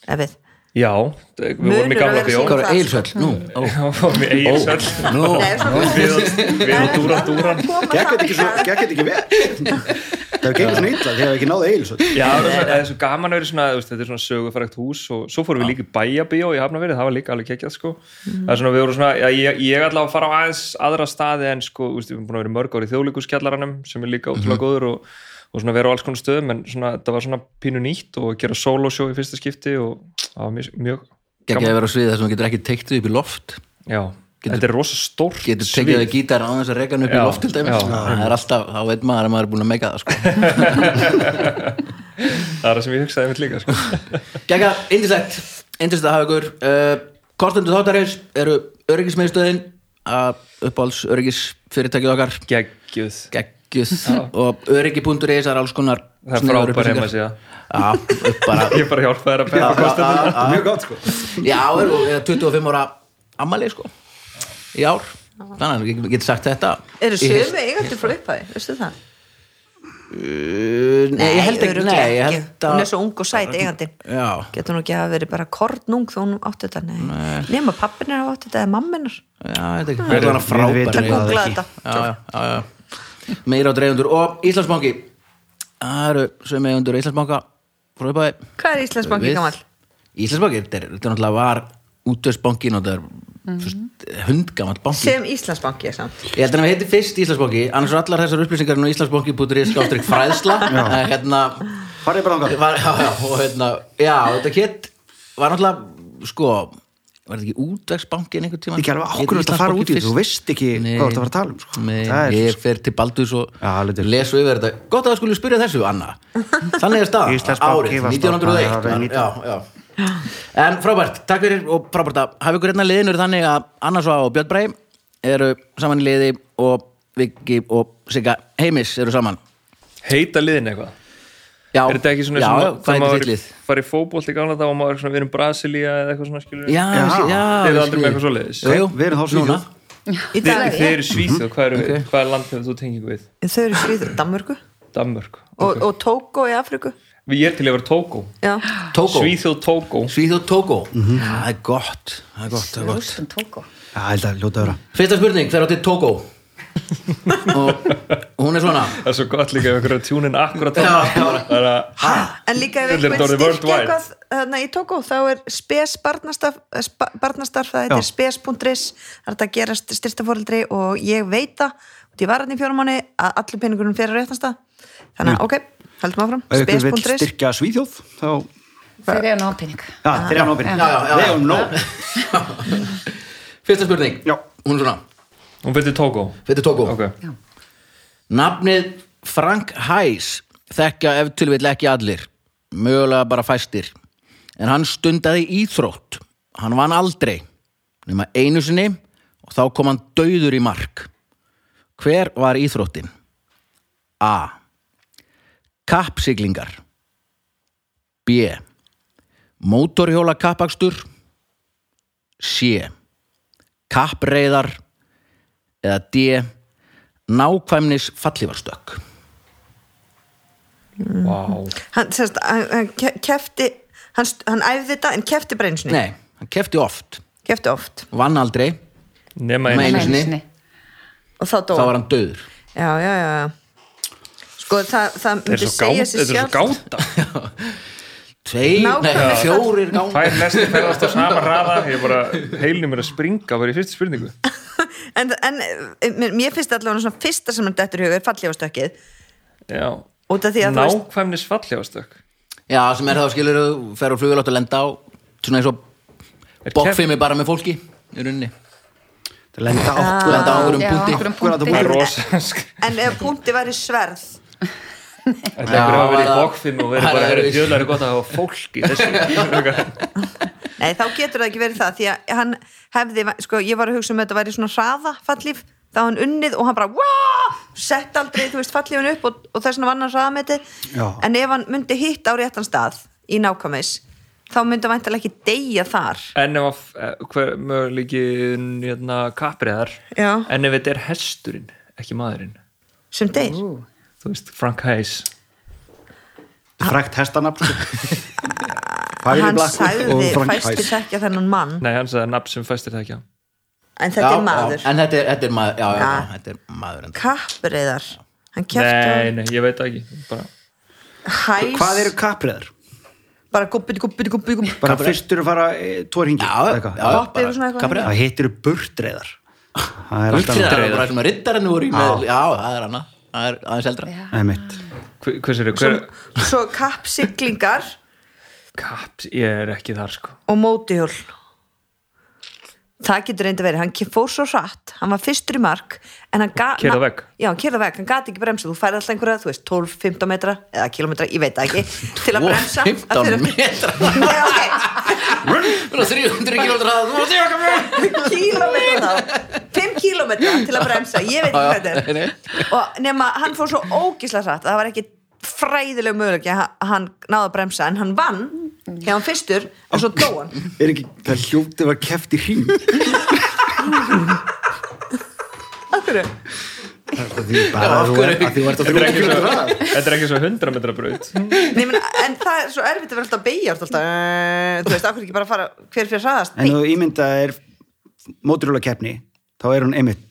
[SPEAKER 5] ef við
[SPEAKER 2] Já, við vorum
[SPEAKER 5] Munur
[SPEAKER 2] í
[SPEAKER 5] að
[SPEAKER 2] gamla
[SPEAKER 5] vera
[SPEAKER 2] bjó
[SPEAKER 5] sýnd.
[SPEAKER 1] Hvað er Eilsöll? Nú, ó,
[SPEAKER 2] [LAUGHS] Við eiginsöld
[SPEAKER 1] nú
[SPEAKER 5] Nei, svona-
[SPEAKER 2] Við og Dúran Dúran
[SPEAKER 3] Gekk þetta ekki
[SPEAKER 2] [LAUGHS]
[SPEAKER 3] svo- gekk þetta ekki vel Það hefur gengið svona illa, þið hefur ekki náðu eil svo.
[SPEAKER 2] Já, það er svona- það er svo gaman að vera svona, þú veist, þetta er svona sögufrækt hús og svo fórum við líka í bæjabíó í Hafnafyrði, það var líka alveg kekkjað sko.
[SPEAKER 1] Mhm.
[SPEAKER 2] Það er svona, við vorum svona, já, ég, ég ætla að fara á aðeins aðra staði en sko, þú veist, við erum búin að vera í mörg ári í þjóðlíkuskjallaranum sem er líka
[SPEAKER 1] Mhm.
[SPEAKER 2] ótrúlega góður og, og svona vera á alls konar stöðum en svona, þetta var svona pínu nýtt og gera sólósjó í fyrsta skipti og það var mjög, mjög
[SPEAKER 1] Gekk ég að vera á sviði þar sem þú getur ekki teikt upp í loft
[SPEAKER 2] já, þetta er rosa stórt
[SPEAKER 1] Getur tekið þau gítar á þess að reka hann upp í
[SPEAKER 2] Já,
[SPEAKER 1] loft til dæmis
[SPEAKER 2] já.
[SPEAKER 1] Það er alltaf, þá veit maður að maður er búin að meika það sko.
[SPEAKER 2] það er það sem ég hugsaði mitt líka sko.
[SPEAKER 1] [LAUGHS] Gekka, indislegt, indislegt að hafa ykkur uh, Kostendur þáttarins eru öryggismiðstöðin að uppáhalds öryggisfyrirtækið okkar
[SPEAKER 2] geggjuð
[SPEAKER 1] geggjuð og öryggi.is er alls konar
[SPEAKER 2] Það er
[SPEAKER 1] sniðugar
[SPEAKER 2] frábær
[SPEAKER 1] upplýsingar.
[SPEAKER 2] heimasíða.
[SPEAKER 1] Já, upp bara
[SPEAKER 2] ég bara hjálpa þér að
[SPEAKER 3] Já,
[SPEAKER 2] bera
[SPEAKER 3] já, já. Mjög gott sko
[SPEAKER 1] Já, er, og er 25 ára ammali sko í ár þannig að ég get sagt þetta
[SPEAKER 5] Eru
[SPEAKER 1] Í heilt-
[SPEAKER 5] sömu eigandur frá upphæði, veistu það?
[SPEAKER 1] Uh, Nei, ég held ekki,
[SPEAKER 5] örugglega
[SPEAKER 1] nei, ég held
[SPEAKER 5] Hún
[SPEAKER 1] að
[SPEAKER 5] er svo ung og sæt eigandin
[SPEAKER 1] Já,
[SPEAKER 5] Getur hún ekki að verið bara kornung þó hún átti þetta, nei, nei. Nefna pappin er á átti þetta eða mamminar
[SPEAKER 1] já, þetta er ekki hann að frábæra
[SPEAKER 3] vitum
[SPEAKER 1] eiga.
[SPEAKER 5] Það
[SPEAKER 3] það
[SPEAKER 5] googla
[SPEAKER 3] ekki.
[SPEAKER 5] þetta
[SPEAKER 1] Já, já, já, já Meira á dreifundur og Íslandsbanki Það eru sem eigundur Íslandsbanka frá upphæði
[SPEAKER 5] Hvað er Íslandsbanki gamall?
[SPEAKER 1] Íslandsbanki, þetta er, þetta er náttúrulega var útvegsbankin og þetta er mm -hmm. hundgamall banki
[SPEAKER 5] Sem Íslandsbanki er samt
[SPEAKER 1] Ég held að hann heiti fyrst Íslandsbanki annars er allar þessar upplýsingar nú Íslandsbanki.is skáttur ekki fræðsla Eh, hérna,
[SPEAKER 3] Farið bara ánga
[SPEAKER 1] var, já, já, og hérna, já, þetta hétt var náttúrulega, sko var þetta ekki útvegsbankin einhvern tímann
[SPEAKER 3] Ekki alveg, af hverju ertu að fara út í þetta? Þú veist ekki hvað þú ert að fara að tala um, sko.
[SPEAKER 1] Nei,
[SPEAKER 3] Það er-
[SPEAKER 1] ég fer til Baldurs og
[SPEAKER 3] Já, heldur.
[SPEAKER 1] les og yfir þetta Gott að það skulle spyrja þessu,
[SPEAKER 3] [LAUGHS]
[SPEAKER 1] Anna Þannig er staðan,
[SPEAKER 3] Íslandsbanki
[SPEAKER 1] árið,
[SPEAKER 3] var stofnaður árið
[SPEAKER 1] 1901 Já, já En frábært, takk fyrir og frábært að hafa ykkur hérna liðinur þannig að Anna Svá og Björn Brei eru saman í liði og Viki og Sigga Heimis eru saman
[SPEAKER 2] heita liðin eitthvað
[SPEAKER 1] Já,
[SPEAKER 2] er þetta ekki svona
[SPEAKER 1] já,
[SPEAKER 2] sem
[SPEAKER 1] já,
[SPEAKER 2] að-
[SPEAKER 1] hvað
[SPEAKER 2] þegar
[SPEAKER 1] heitir
[SPEAKER 2] maður
[SPEAKER 1] þitt lið?
[SPEAKER 2] var í fótbolt í gamla þá og maður er svona, við erum Brasilia eða eitthvað svona skilur
[SPEAKER 1] Já,
[SPEAKER 3] Já.
[SPEAKER 1] sí- já
[SPEAKER 2] Þið eru
[SPEAKER 1] ég
[SPEAKER 2] aldrei
[SPEAKER 1] skil.
[SPEAKER 2] með eitthvað svoleiðis?
[SPEAKER 1] Jú, jú,
[SPEAKER 3] Við erum þá
[SPEAKER 1] núna.
[SPEAKER 3] svíður
[SPEAKER 5] Í
[SPEAKER 2] Þið,
[SPEAKER 5] dag,
[SPEAKER 2] þið eru Svíþjóð, hvað, eru við, hvað er land hefur þú tengingu við?
[SPEAKER 5] Þau eru svíð Danmörku
[SPEAKER 2] Danmörk
[SPEAKER 5] og, og Tóko í Afriku
[SPEAKER 2] Við ég er til að vera Tókó
[SPEAKER 5] Já,
[SPEAKER 1] Tókó
[SPEAKER 2] Svíþjóð Tókó
[SPEAKER 1] Svíþjóð Tókó Það er gott, það er gott, það er gott
[SPEAKER 4] Rústum tóko
[SPEAKER 3] Já, ég held að ljóta öra
[SPEAKER 1] Fyrsta spurning, það er átti [LAUGHS] Tókó og hún er svona
[SPEAKER 2] Það er svo gott líka ef einhverja tjúnin akkurat
[SPEAKER 1] Já, já.
[SPEAKER 2] Það er að
[SPEAKER 5] en líka ef
[SPEAKER 2] Þetta er
[SPEAKER 5] einhvern
[SPEAKER 2] orðið
[SPEAKER 5] styrkja
[SPEAKER 2] worldwide.
[SPEAKER 5] eitthvað þarna í Tóko þá er spes barnastarf, eh, spa- barnastarf það heitir
[SPEAKER 3] Já.
[SPEAKER 5] spes.ris það er þetta að gera styrtaforeldri og ég veit það, út í varðin í fjórumanni að allir peningurinn fyrir réttnasta þannig
[SPEAKER 2] Mm.
[SPEAKER 5] að ok, heldum áfram
[SPEAKER 3] Ef ykkur vil
[SPEAKER 5] spes.ris
[SPEAKER 3] styrkja Svíþjóð þá
[SPEAKER 4] Þeir eru nóg pening
[SPEAKER 3] Já, þeir eru nópin
[SPEAKER 1] Já, já, já.
[SPEAKER 3] Þeir eru nóp
[SPEAKER 1] Fyrsta spurning,
[SPEAKER 3] Já.
[SPEAKER 1] hún er svona
[SPEAKER 2] Hún fyrir Tókó
[SPEAKER 1] Þetta er Tókó
[SPEAKER 2] Ok
[SPEAKER 1] Nafnið Frank Hæs þekkja ef til vill ekki allir mögulega bara fæstir en hann stundaði íþrótt hann vann aldrei nema einu sinni og þá kom hann dauður í mark Hver var íþróttin? A. Kappsiglingar B. Mótorhjóla kappakstur C. Kappreiðar eða D. Nákvæmnis fallivarstök
[SPEAKER 2] Vá
[SPEAKER 5] hann, sérst, hann, hann ke- kefti hann, st- hann æfði þetta en kefti bara einu sinni
[SPEAKER 1] Nei, hann kefti oft
[SPEAKER 5] kefti oft
[SPEAKER 1] vann aldrei,
[SPEAKER 2] Nema
[SPEAKER 1] Nei.
[SPEAKER 2] einu
[SPEAKER 1] Einu sinni.
[SPEAKER 5] og þá dó
[SPEAKER 1] þá var hann döður
[SPEAKER 5] já, já, já, já sko það, það
[SPEAKER 2] Þetta er
[SPEAKER 5] myndi
[SPEAKER 2] svo gáta,
[SPEAKER 5] segja sér
[SPEAKER 2] þetta er svo
[SPEAKER 5] sjálft
[SPEAKER 2] gáta
[SPEAKER 1] Tveir, nei,
[SPEAKER 5] Nákvæmnis
[SPEAKER 1] fjórir gangar
[SPEAKER 2] Tvær lestir ferðast á
[SPEAKER 5] [LAUGHS]
[SPEAKER 2] sama raða Ég bara, heilnum er að springa bara í fyrstu spurningu
[SPEAKER 5] en, en eh, mér- mér finnst allavega svona fyrsta sem hann dettur í huga er fallífastökkið
[SPEAKER 2] Já
[SPEAKER 5] út af því að þú veist
[SPEAKER 2] Nákvæmnis fallegastök
[SPEAKER 1] Já, sem er þá skilur þú fer á flugulótt og lenda á svona eins og
[SPEAKER 2] Er
[SPEAKER 1] bokkfimi bara með fólki í runni
[SPEAKER 3] Þeir lenda
[SPEAKER 5] Ah.
[SPEAKER 3] átt
[SPEAKER 1] lenda á einhverjum
[SPEAKER 4] Já,
[SPEAKER 1] punkti
[SPEAKER 4] einhverjum
[SPEAKER 3] Akkurat á
[SPEAKER 4] punkti.
[SPEAKER 2] Það er
[SPEAKER 3] punktinum.
[SPEAKER 2] rosa Þetta
[SPEAKER 5] en ef punkti væri sverð
[SPEAKER 2] er einhverju að vera í
[SPEAKER 1] það-
[SPEAKER 2] bókfim og vera
[SPEAKER 1] það er
[SPEAKER 2] bara að vera
[SPEAKER 1] öðruvísi.
[SPEAKER 2] djöðlega gott að hafa fólk í
[SPEAKER 1] [LAUGHS]
[SPEAKER 2] þessu
[SPEAKER 5] nei þá getur það ekki verið það því að hann hefði, sko ég var að hugsa um að þetta væri svona hraða fallíf þá hann unnið og hann bara wow! sett aldrei þú veist fallífun upp og, og þess vegna vann hann hraðameti
[SPEAKER 3] Já.
[SPEAKER 5] en ef hann myndi hitt á réttan stað í nákvæmis þá myndi hann væntanlega ekki deyja þar
[SPEAKER 2] En ef að hver möguleiki hérna, kapriðar
[SPEAKER 5] Já.
[SPEAKER 2] En ef þetta er hesturinn, ekki maðurinn
[SPEAKER 5] sem deyr
[SPEAKER 2] Þú veist, Frank Hayes
[SPEAKER 3] Frækt
[SPEAKER 5] [LAUGHS]
[SPEAKER 3] hestanafn
[SPEAKER 5] hann sagði fæsti
[SPEAKER 3] fæst
[SPEAKER 5] þekkja þennan mann
[SPEAKER 2] Nei, hann sagði nafn sem fæstir þekkja
[SPEAKER 5] en þetta
[SPEAKER 1] Já,
[SPEAKER 5] er maður Ah.
[SPEAKER 1] já, En þetta er, þetta er maður, já, já,
[SPEAKER 5] Ja.
[SPEAKER 1] já, þetta er maður enda.
[SPEAKER 5] kappriðar hann
[SPEAKER 2] Nei,
[SPEAKER 5] kæfti
[SPEAKER 2] nei, ég veit það ekki bara,
[SPEAKER 5] hæs
[SPEAKER 3] Hvað eru kapriðar?
[SPEAKER 5] bara gubbiti gubbiti gubbiti gubbiti
[SPEAKER 3] Bara fyrst eru að fara e, tvo hringi
[SPEAKER 1] Já, já,
[SPEAKER 3] eitthvað.
[SPEAKER 1] já,
[SPEAKER 5] Bobbi og svona eitthvað.
[SPEAKER 1] kapriða
[SPEAKER 3] Það hittir burtreiðar Það er alltaf
[SPEAKER 1] Útreðar,
[SPEAKER 2] Útreðar.
[SPEAKER 1] bara sem að riddarinn voru í
[SPEAKER 5] Ah.
[SPEAKER 1] með Já, það er hana, það er aðeins eldra
[SPEAKER 4] Já.
[SPEAKER 3] Það er mitt
[SPEAKER 2] hver, Hvers er hver,
[SPEAKER 5] svo kappsiglingar
[SPEAKER 2] Kaps, ég er ekki þar sko
[SPEAKER 5] og mótihjól það getur reyndi verið hann ke- fór svo hratt, hann var fyrstur í mark en hann gat
[SPEAKER 2] Keyrði á vegg.
[SPEAKER 5] já, hann keirða vegg, hann gat ekki bremsa, þú færði alltaf einhverja þú veist, 12-15 metra eða kilometra, ég veit það ekki til að
[SPEAKER 1] Og
[SPEAKER 5] bremsa að
[SPEAKER 1] 15
[SPEAKER 5] þurfa-
[SPEAKER 1] metra
[SPEAKER 5] Já, ok,
[SPEAKER 1] Svona 300 kilómetra hraða, þú mátt ég okkar með.
[SPEAKER 5] 5 kílómetra til að bremsa ég
[SPEAKER 1] Já, já,
[SPEAKER 5] veit ekki hvað þetta
[SPEAKER 1] nei,
[SPEAKER 5] er og nema hann fór svo ógísla hratt að það var ekki fræðileg möguleik að hann náði að bremsa en hann vann hjá hann fyrstur og svo dó hann
[SPEAKER 3] Er ekki, það hljótið var keft í
[SPEAKER 5] [LAUGHS]
[SPEAKER 3] hring Það
[SPEAKER 5] Akkur
[SPEAKER 3] er bara því bara
[SPEAKER 1] Já,
[SPEAKER 3] að
[SPEAKER 1] af
[SPEAKER 3] þú
[SPEAKER 1] hverju?
[SPEAKER 3] ert- að því þú ert á 300
[SPEAKER 2] Þetta er ekki
[SPEAKER 3] km
[SPEAKER 2] svo,
[SPEAKER 3] hraða.
[SPEAKER 2] þetta er ekki svo 100 metra braut
[SPEAKER 5] Nei, menn, en það er svo erfitt að vera alltaf að beigja alltaf, eh, þú veist, akkur ekki bara að fara hver fyrir hraðast
[SPEAKER 3] En þú ímynda er móturjóla keppni þá er hún einmitt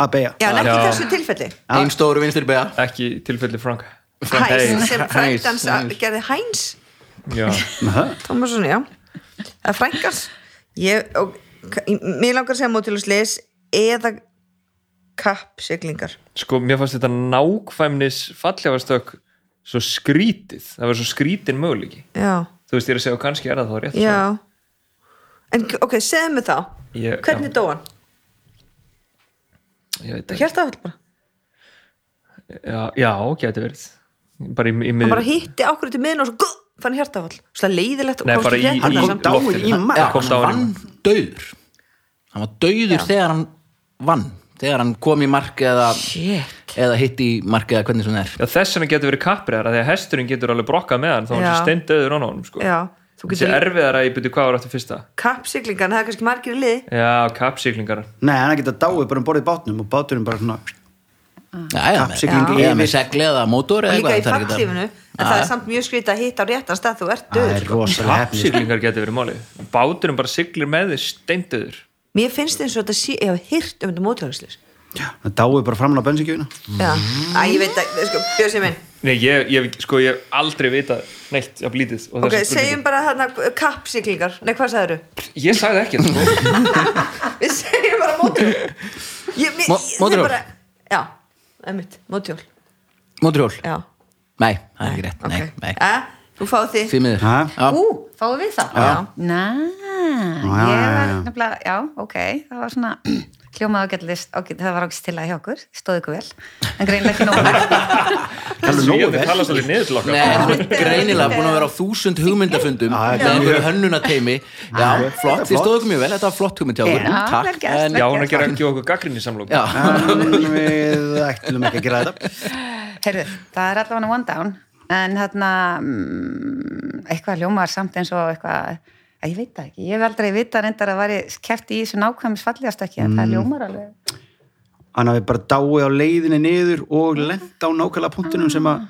[SPEAKER 3] að beja
[SPEAKER 5] já, en ekki
[SPEAKER 2] Já.
[SPEAKER 5] í þessu tilfelli
[SPEAKER 1] Ein stóru vinstri bega
[SPEAKER 2] Ekki í tilfelli Frank Frank
[SPEAKER 5] Hæs,
[SPEAKER 2] Hayes
[SPEAKER 5] sem
[SPEAKER 1] Hæs,
[SPEAKER 5] frændans
[SPEAKER 1] hæs.
[SPEAKER 5] gerði Hæns
[SPEAKER 2] já,
[SPEAKER 5] Tómasson, já Það er frængars ég, og, k- í- Mér langar að segja mótilusleis eða kappsiglingar
[SPEAKER 2] sko mér fannst þetta nákvæmnis fallefastök svo skrítið, það var svo skrítin möguleiki
[SPEAKER 5] Já,
[SPEAKER 2] þú veist ég er að segja og kannski er það þá rétt
[SPEAKER 5] já En k- ok, segðu mig þá
[SPEAKER 2] Ég-
[SPEAKER 5] Hvernig
[SPEAKER 2] já.
[SPEAKER 5] dó hann?
[SPEAKER 2] Ég veit ekki.
[SPEAKER 5] Hjartaðall bara
[SPEAKER 2] já, já, gæti verið bara í, í
[SPEAKER 5] Hérna? Hann
[SPEAKER 2] miður
[SPEAKER 5] bara hitti okkur til miðin og svo guð, fann hjartaðall Svo leiðilegt og
[SPEAKER 2] Nei,
[SPEAKER 5] komst
[SPEAKER 2] bara í,
[SPEAKER 5] ekki
[SPEAKER 2] í
[SPEAKER 5] hérna samt.
[SPEAKER 3] dáinn
[SPEAKER 2] loftinu.
[SPEAKER 3] í mark.
[SPEAKER 2] Já,
[SPEAKER 3] Já,
[SPEAKER 2] komst á
[SPEAKER 1] hann vann
[SPEAKER 2] hann
[SPEAKER 1] döður hann var döður þegar hann vann þegar hann kom í mark eða, eða hitti í mark eða hvernig sem það er
[SPEAKER 2] Já, þess vegna getur verið kappriðar að því að hesturinn getur alveg brokkað með hann þá hann
[SPEAKER 5] Já.
[SPEAKER 2] sé steindauður á honum sko.
[SPEAKER 5] Já, þú
[SPEAKER 2] þessi
[SPEAKER 5] getur
[SPEAKER 2] erfiðar að ég byrja hvað var áttu fyrsta
[SPEAKER 5] kappsiglingar en Það er kannski margir í liði
[SPEAKER 2] já, kappsíklingar
[SPEAKER 3] Nei, hann er ekki að dáið bara um borðið í bátnum og báturinn bara svona
[SPEAKER 1] Já, eða með-
[SPEAKER 3] Kappsigling
[SPEAKER 1] eða með
[SPEAKER 3] yfir.
[SPEAKER 1] segli eða mótor
[SPEAKER 5] og
[SPEAKER 1] eða
[SPEAKER 5] líka í
[SPEAKER 1] það er ekki
[SPEAKER 5] fallífinu en það er samt mjög skrítið að hitta á réttan stað þú ert
[SPEAKER 3] Það
[SPEAKER 5] döður
[SPEAKER 3] er sko. rosalega hefnir
[SPEAKER 2] kappsíklingar getur verið máli báturinn bara siglir með þið steindauður
[SPEAKER 5] mér finnst eins og þetta sé, ég hef hýrt um þetta mótilagslis
[SPEAKER 3] Það dáið bara framan á bensinkjöfina
[SPEAKER 5] að ég veit að, sko, Björsi minn
[SPEAKER 2] nei, ég, ég, sko, ég hef aldrei vitað neitt af lítið og
[SPEAKER 5] ok,
[SPEAKER 2] þessa spurningu.
[SPEAKER 5] segjum bara þarna kappsiglingar nei, hvað sagður
[SPEAKER 2] ég sagði ekki sko.
[SPEAKER 5] við [LAUGHS] segjum bara mótjól ég, mér,
[SPEAKER 1] Mó-
[SPEAKER 5] ég-
[SPEAKER 1] mótorhjól?
[SPEAKER 5] bara, já, einmitt, mótjól
[SPEAKER 1] Mótorhjól?
[SPEAKER 5] já,
[SPEAKER 1] Nei, það er ekki rétt, nei,
[SPEAKER 5] ok
[SPEAKER 1] nei
[SPEAKER 5] Eh, þú fá því
[SPEAKER 1] Því miður
[SPEAKER 3] Ha?
[SPEAKER 1] Já.
[SPEAKER 4] Ú, fáum við það?
[SPEAKER 5] Já.
[SPEAKER 4] Næ,
[SPEAKER 3] já,
[SPEAKER 4] ég
[SPEAKER 3] já,
[SPEAKER 4] var
[SPEAKER 3] já.
[SPEAKER 4] nefnilega, já, ok, það var svona [CLEARS THROAT] hljómað ágætt list, ágætt, það var ágætt til að hjá okkur, stóð ykkur vel, en greinlega ekki
[SPEAKER 3] [LAUGHS]
[SPEAKER 4] nóg.
[SPEAKER 3] Alveg
[SPEAKER 2] ég
[SPEAKER 3] nógu
[SPEAKER 2] hefði
[SPEAKER 3] vel.
[SPEAKER 2] talað svolítið niður til
[SPEAKER 1] Nei,
[SPEAKER 2] okkar
[SPEAKER 1] þú ert greinilega búin að vera á þúsund hugmyndafundum
[SPEAKER 3] Já,
[SPEAKER 1] með
[SPEAKER 3] þetta er
[SPEAKER 1] einhverju hönnunateimi Já, flott,
[SPEAKER 3] flott.
[SPEAKER 1] þið stóðu ekki mjög vel, þetta var flott hugmynd hjá okkur
[SPEAKER 4] Já, vel
[SPEAKER 1] Takk,
[SPEAKER 4] gert,
[SPEAKER 1] en
[SPEAKER 2] já, hún er að gera ekki okkur gaggrinni samlók
[SPEAKER 1] Já,
[SPEAKER 3] En
[SPEAKER 1] [LAUGHS]
[SPEAKER 3] Við ætlum ekki að gera þetta
[SPEAKER 4] Heyrðu, það er allavega one down, en þarna, mm, eitthvað hljómaðar samt eins og eitthvað, að ég veit það ekki, ég hef aldrei vitað reyndar að væri kæft í þessu nákvæmis fallegast ekki, en
[SPEAKER 3] Mm.
[SPEAKER 4] það hljómar alveg.
[SPEAKER 3] Hann hafi bara dáið á leiðinni niður og lent á nákvæmlega punktinum sem að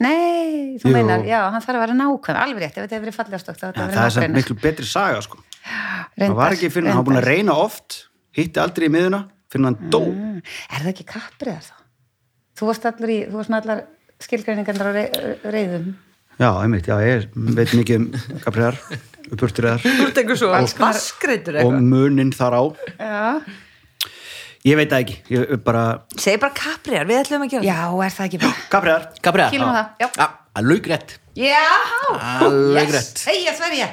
[SPEAKER 4] Nei, þú
[SPEAKER 3] Jú.
[SPEAKER 4] meinar, já, hann þarf að vera nákvæm, alveg rétt, ef þetta hefur verið fallegast okkur,
[SPEAKER 3] ja,
[SPEAKER 1] Ah,
[SPEAKER 4] þetta
[SPEAKER 3] það er
[SPEAKER 4] hefur
[SPEAKER 3] samt
[SPEAKER 4] verið nákvæmist.
[SPEAKER 3] miklu betri saga sko. það var ekki fyrir hann, hann var búin að reyna oft hitti aldrei í miðuna fyrir hann dó
[SPEAKER 1] Mm.
[SPEAKER 4] Mm. Er það ekki kappriðar þá? Þú varst allar í, þú varst með allar skilgreiningarnar á rey, reyðum.
[SPEAKER 3] já, einmitt, já, ég veit mikið um kapriðar, uppurtriðar
[SPEAKER 5] þú ert eitthvað svo
[SPEAKER 3] og
[SPEAKER 5] vaskreitur eitthvað
[SPEAKER 3] munin þar á
[SPEAKER 4] Já.
[SPEAKER 3] ég veit það ekki, ég er bara
[SPEAKER 5] segjum bara kapriðar, við ætlum að gera
[SPEAKER 4] Já, er það ekki bara.
[SPEAKER 3] kapriðar,
[SPEAKER 1] Gabriel
[SPEAKER 4] Kýlum á það, já.
[SPEAKER 1] Já, að lauk rétt
[SPEAKER 4] Já!
[SPEAKER 1] Alveg rétt.
[SPEAKER 4] Hei, ég sver ég.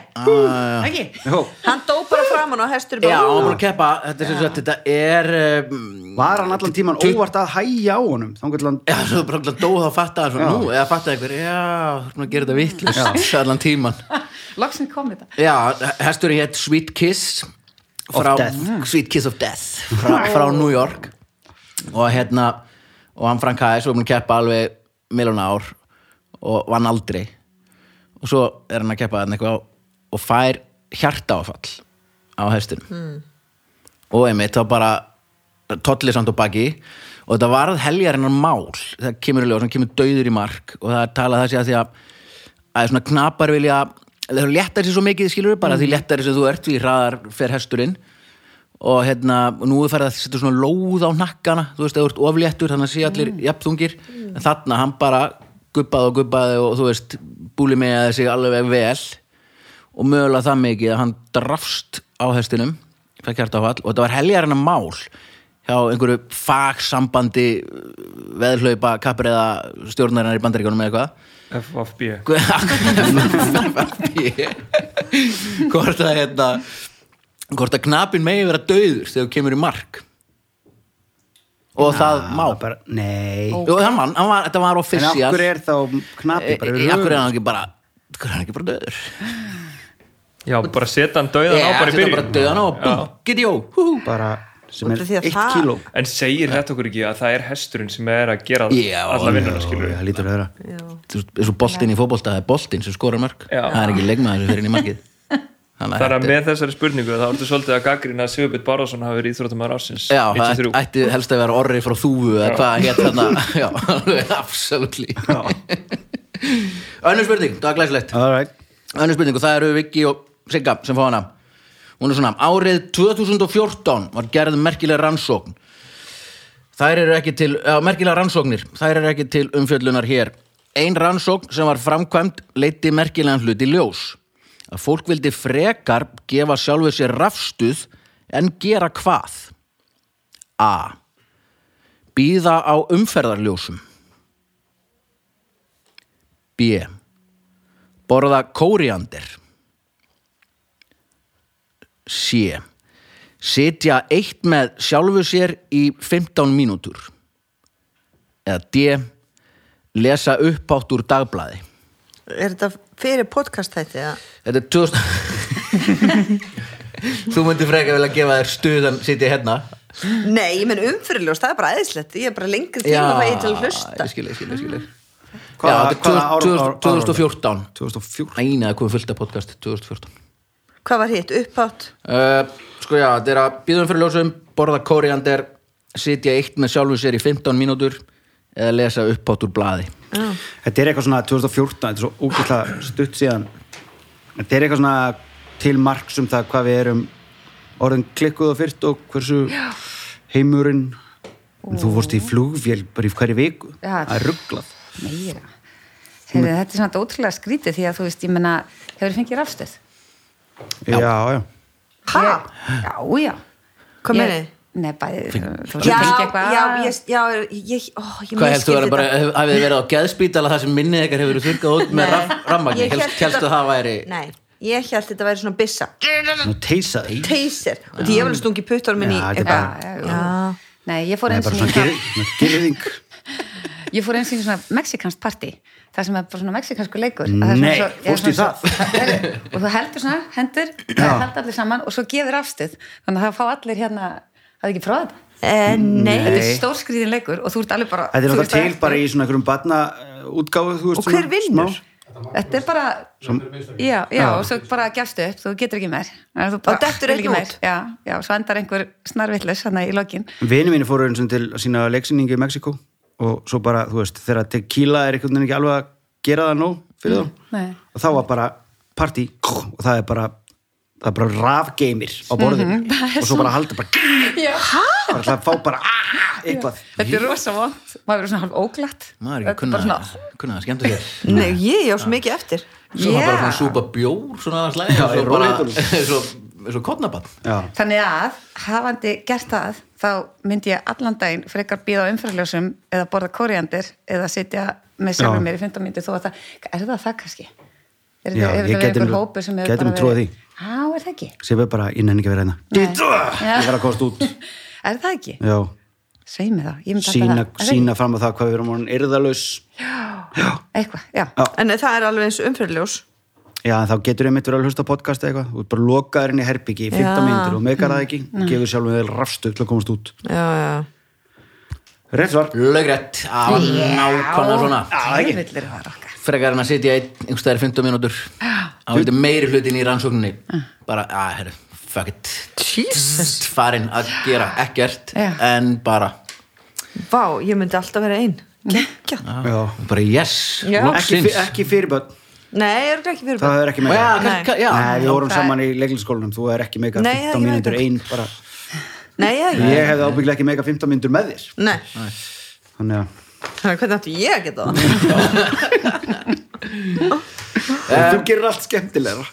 [SPEAKER 4] Ekki?
[SPEAKER 3] Jó,
[SPEAKER 5] það hann dó bara framan á hestur
[SPEAKER 1] Já,
[SPEAKER 5] bara,
[SPEAKER 1] hann var búin að keppa, þetta er sem sagt, þetta er um,
[SPEAKER 3] var hann allan tíman óvart að hæja á honum þá getur hann,
[SPEAKER 1] Já, svo bara alltaf dóð og fattaði svo,
[SPEAKER 3] Já.
[SPEAKER 1] nú, eða fattaði einhver, já, þú erum að gera þetta vittlust allan tíman.
[SPEAKER 4] Loksin kom þetta.
[SPEAKER 1] Já, hesturinn hétt Sweet Kiss
[SPEAKER 3] Of
[SPEAKER 1] frá, Mm.
[SPEAKER 3] Death.
[SPEAKER 1] Sweet Kiss of Death frá, frá New York og hérna, og hann Frank Hæs var búin að keppa alveg miljón ár og vann aldrei og svo er hann að keppa hann eitthvað og fær hjartaáfall á hestunum
[SPEAKER 3] Hmm.
[SPEAKER 1] og einmitt þá bara tollir samt og baki og þetta varð heljarinnar mál það kemur í ljós, hann kemur dauður í mark og það er talað það sé að því að að svona knapar vilja þau léttar sér svo mikið skilur bara því léttar sem þú ert því hraðar fer hesturinn og hérna, og nú er farið að setja svona lóð á nakkana, þú veist, eða þú ert ofléttur þannig að sé allir mm. jafnþungir en þarna hann bara gubbaði og gubbaði og þú veist, búli með sig alveg vel og mögulega það mikið að hann drafst á hestinum fæk hjartáfall og þetta var heljarinn að mál hjá einhverju fagsambandi veðhlaupa kapriða stjórnarinnar í bandaríkjónum eða eitthvað
[SPEAKER 2] FFB
[SPEAKER 1] [LAUGHS] hvort að hérna hvort að knapin megi vera döður þegar þú kemur í mark og það má
[SPEAKER 3] það bara, nei
[SPEAKER 1] Jú, hann vann, hann var, þetta var
[SPEAKER 3] en af
[SPEAKER 1] official
[SPEAKER 3] hverju er þá knapi
[SPEAKER 1] Í- í-
[SPEAKER 3] bara
[SPEAKER 1] Eh, af hverju er hann ekki bara af hverju er hann ekki bara döður
[SPEAKER 2] já, bara setja hann dauðan á
[SPEAKER 1] Ég, setja
[SPEAKER 2] bara í
[SPEAKER 1] Eh, bara
[SPEAKER 2] byrjun
[SPEAKER 1] döðan á og bú, get jó hú, hú.
[SPEAKER 3] bara, sem
[SPEAKER 5] Út
[SPEAKER 3] er
[SPEAKER 5] af því að
[SPEAKER 3] eitt
[SPEAKER 5] það-
[SPEAKER 3] kíló
[SPEAKER 2] en segir þetta okkur ekki að það er hesturinn sem er að gera
[SPEAKER 1] Já,
[SPEAKER 2] alla vinnuna
[SPEAKER 3] Jó,
[SPEAKER 2] skilur
[SPEAKER 3] já, lítur að vera
[SPEAKER 1] þú veist, eins og boltinn í fótbolta það er boltinn sem skorar mörg
[SPEAKER 2] Já.
[SPEAKER 1] það er ekki leikmaður sem fyrir inn í
[SPEAKER 2] [LAUGHS]
[SPEAKER 1] markið Þannig
[SPEAKER 2] Það er að
[SPEAKER 1] þetta-
[SPEAKER 2] með þessari spurningu þá ertu svolítið að gaggrina að Sigurbjörn Bárðarsson hafi verið íþróttamæður ársins
[SPEAKER 1] Já, það
[SPEAKER 2] 93.
[SPEAKER 1] ætti helst að vera orri frá þúfu eða hvað hétt þarna Já, [LAUGHS] alveg, absolutt Önnur spurning, það var glæsilegt
[SPEAKER 3] all right
[SPEAKER 1] Önnur spurning og það eru Viki og Sigga sem fá hana Hún er svona, árið 2014 var gerð merkileg rannsókn Þær eru ekki til, já, merkilega rannsóknir Þær eru ekki til umfjöllunar hér Ein rannsókn sem var framkvæmt leiti merkilegan hlut í ljós. Að fólk vildi frekar gefa sjálfu sér rafstuð en gera hvað? A. Býða á umferðarljósum. B. Borða kóriandir. C. Sitja eitt með sjálfu sér í 15 mínútur. Eða D. Lesa upphátt úr dagblaði.
[SPEAKER 5] Er þetta fyrir podcast þætti? eða?
[SPEAKER 1] Þetta er 2000... [LAUGHS] Þú myndir frekar vel að gefa þér stuðan sitja hérna.
[SPEAKER 5] Nei, ég menn umfyrirljós, það er bara aðeinslegt Ég er bara lengur tíma að vegi til að hlusta
[SPEAKER 1] ég skil, ég skil, ég skil. Já,
[SPEAKER 3] Hvaða-
[SPEAKER 1] þetta
[SPEAKER 3] hvaða
[SPEAKER 1] er
[SPEAKER 3] ár-
[SPEAKER 1] 2000
[SPEAKER 3] ár- ár-
[SPEAKER 1] 2014.
[SPEAKER 3] 2014
[SPEAKER 1] Æna, það kom fullt af podcast 2014.
[SPEAKER 5] Hvað var hitt? Upphátt?
[SPEAKER 1] Uh, sko já, þetta er að býðum fyrir ljósum, borða kóriander, sitja eitt með sjálfu sér í 15 mínútur eða lesa upphátt úr blaði.
[SPEAKER 3] Þetta er eitthvað svona 2014, þetta er svo úkvæmlega stutt síðan Þetta er eitthvað svona til marks um það hvað við erum orðin klikkuð og fyrt og hversu heimurinn En Þú fórst í flugvél bara í hverju viku
[SPEAKER 4] Já.
[SPEAKER 3] Það er rugglað
[SPEAKER 4] meira Heyrðu, þetta er svona ótrúlega skrítið því að þú veist, ég menna, hefur fengið rafstöð
[SPEAKER 3] Já, já,
[SPEAKER 5] Ha?
[SPEAKER 4] Ég- Já, já
[SPEAKER 5] Hvað
[SPEAKER 4] Ég-
[SPEAKER 5] meini?
[SPEAKER 4] Nei, bæði, þú veist,
[SPEAKER 5] Já,
[SPEAKER 4] fengið
[SPEAKER 5] já,
[SPEAKER 4] eitthvað
[SPEAKER 5] ég, já, ég, ó, ég
[SPEAKER 1] Hvað heldur þú að
[SPEAKER 5] misskildi
[SPEAKER 1] bara,
[SPEAKER 5] þetta.
[SPEAKER 1] hef- hafið þið verið á geðspítala þar sem minnið ykkar hefur verið þurrkað út með
[SPEAKER 5] Nei.
[SPEAKER 1] rammagni?
[SPEAKER 5] Ég hélt
[SPEAKER 1] Helst, helst að það væri...
[SPEAKER 5] Nei, ég held þetta væri svona byssa
[SPEAKER 3] nú teysaði
[SPEAKER 5] Teyser, og því ég var alveg stungi puttar minn í
[SPEAKER 3] Já, þetta er
[SPEAKER 4] já, já,
[SPEAKER 5] eitthvað.
[SPEAKER 4] já.
[SPEAKER 5] Já.
[SPEAKER 4] Nei, ég
[SPEAKER 3] Það
[SPEAKER 4] fór
[SPEAKER 3] er
[SPEAKER 4] eins
[SPEAKER 3] bara
[SPEAKER 4] og
[SPEAKER 3] svona
[SPEAKER 4] ég,
[SPEAKER 3] gyrðing- gyrðing
[SPEAKER 4] ég fór eins og svona mexikansk partí það sem er bara svona mexikansku leikur
[SPEAKER 3] Nei, fórstu í
[SPEAKER 4] það? og þú heldur svona, hendur,
[SPEAKER 3] Já.
[SPEAKER 4] heldur allir saman og svo gefur rafstöð þannig að það fá allir hérna, það er ekki frá þetta
[SPEAKER 5] Eh, Nei,
[SPEAKER 4] þetta er stórskrýðin leikur og þú ert alveg bara
[SPEAKER 3] Þetta er
[SPEAKER 4] þú
[SPEAKER 3] náttúrulega
[SPEAKER 4] ert bara
[SPEAKER 3] til bara í svona einhverjum batna útgáfu þú veist,
[SPEAKER 5] Og hver
[SPEAKER 3] svona
[SPEAKER 5] vinnur?
[SPEAKER 3] smá.
[SPEAKER 4] Þetta er bara, já, já, og svo bara gefstu upp, þú getur ekki meir. Þannig að þú bara-
[SPEAKER 5] Og dettur
[SPEAKER 4] vil
[SPEAKER 5] einn
[SPEAKER 4] ekki meir.
[SPEAKER 5] út.
[SPEAKER 4] Já, já, svo endar einhver snarvillus þannig í lokin.
[SPEAKER 3] Vini mínu fóru eins og til að sína leiksinningu í Mexiko og svo bara, þú veist, þegar tequila er einhvern veginn ekki alveg að gera það nóg fyrir þá
[SPEAKER 4] Nei.
[SPEAKER 3] og þá var bara partí og það er bara, það er bara rafgeimir á borðinu
[SPEAKER 4] Mhm,
[SPEAKER 3] og svo bara halda bara,
[SPEAKER 4] Já.
[SPEAKER 3] bara til að fá bara ah, eitthvað
[SPEAKER 4] Þetta er rosa vond, maður verður svona hálf óglatt.
[SPEAKER 1] Maður er
[SPEAKER 4] Þetta
[SPEAKER 1] ekki kunna,
[SPEAKER 4] bara
[SPEAKER 1] kunna það skemmta sér.
[SPEAKER 5] nei, ég á svo mikið eftir
[SPEAKER 1] Svo yeah. bara
[SPEAKER 4] Já.
[SPEAKER 1] svona súpa bjór svona að slæða og
[SPEAKER 3] Já, í
[SPEAKER 1] svo bara,
[SPEAKER 3] rólegheitunum.
[SPEAKER 1] svo, [LAUGHS] svo kotnabann.
[SPEAKER 3] Já,
[SPEAKER 4] Þannig að, hafandi gert það, þá myndi ég allan daginn frekar býða á umfærljósum eða borða koriandir eða sitja með sjálfur
[SPEAKER 3] Já.
[SPEAKER 4] mér í 15 mínúti þó að það, er það það kannski? Er
[SPEAKER 3] Já, ég
[SPEAKER 4] þetta, hefur þetta verið
[SPEAKER 3] gæti
[SPEAKER 4] einhver
[SPEAKER 3] mér-
[SPEAKER 4] hópur sem hefur
[SPEAKER 3] gæti
[SPEAKER 4] bara
[SPEAKER 3] mér trúað því.
[SPEAKER 4] Á, er það ekki? [LAUGHS]
[SPEAKER 3] sem við bara innan ekki að vera hérna
[SPEAKER 4] Já.
[SPEAKER 3] ég verð að komast út
[SPEAKER 4] Er það ekki?
[SPEAKER 3] Já,
[SPEAKER 4] Sveið mig þá, ég myndi alltaf
[SPEAKER 3] sína,
[SPEAKER 4] það. Er það ekki?
[SPEAKER 3] sína fram á það hvað við erum orðin erðalaus
[SPEAKER 4] Eitthvað, já.
[SPEAKER 5] En eh, það er alveg eins umfyrirljós
[SPEAKER 3] Já, en þá getur einmitt verið að hlusta á podcast eða eitthvað og bara lokaður inn í herbyggi í 15
[SPEAKER 5] Já. Mm.
[SPEAKER 3] mínútur og megar það ekki, gefur sjálfum vel rafstu til að komast út.
[SPEAKER 5] Já, já
[SPEAKER 3] Rétt svar.
[SPEAKER 1] Lögrætt, á nákvæmlega svona.
[SPEAKER 4] Tjöfullir var okkar.
[SPEAKER 1] Frekar en að sitja einn einhverstaðar 15 mínútur. Á þetta meiri hlutin í rannsókninni. Bara, að, herru, fuck it. Jesus. Farin að gera ekkert,
[SPEAKER 4] Já.
[SPEAKER 1] en bara,
[SPEAKER 5] Vá, ég myndi alltaf vera einn Kekja
[SPEAKER 3] Já.
[SPEAKER 1] bara yes,
[SPEAKER 5] Já.
[SPEAKER 3] Ekki,
[SPEAKER 1] loksins.
[SPEAKER 3] fyr- ekki fyrirbönd,
[SPEAKER 5] Nei, ég er ekki fyrir
[SPEAKER 3] það er ekki
[SPEAKER 1] Já,
[SPEAKER 3] megar.
[SPEAKER 1] kann- kann- já.
[SPEAKER 3] Nei, við vorum
[SPEAKER 4] Það-
[SPEAKER 3] saman í leiklingsskólanum, þú er ekki megar
[SPEAKER 5] Nei,
[SPEAKER 3] 15
[SPEAKER 5] ég veit
[SPEAKER 3] mínútur
[SPEAKER 5] það.
[SPEAKER 3] einn bara.
[SPEAKER 5] Nei, ég er ekki
[SPEAKER 3] Ég hefði ábygglega ekki megar 15 mínútur með þér.
[SPEAKER 5] Nei,
[SPEAKER 3] Þannig að,
[SPEAKER 5] hvernig áttu ég að geta
[SPEAKER 1] [LAUGHS]
[SPEAKER 5] það?
[SPEAKER 3] þú gerir allt skemmtilegra.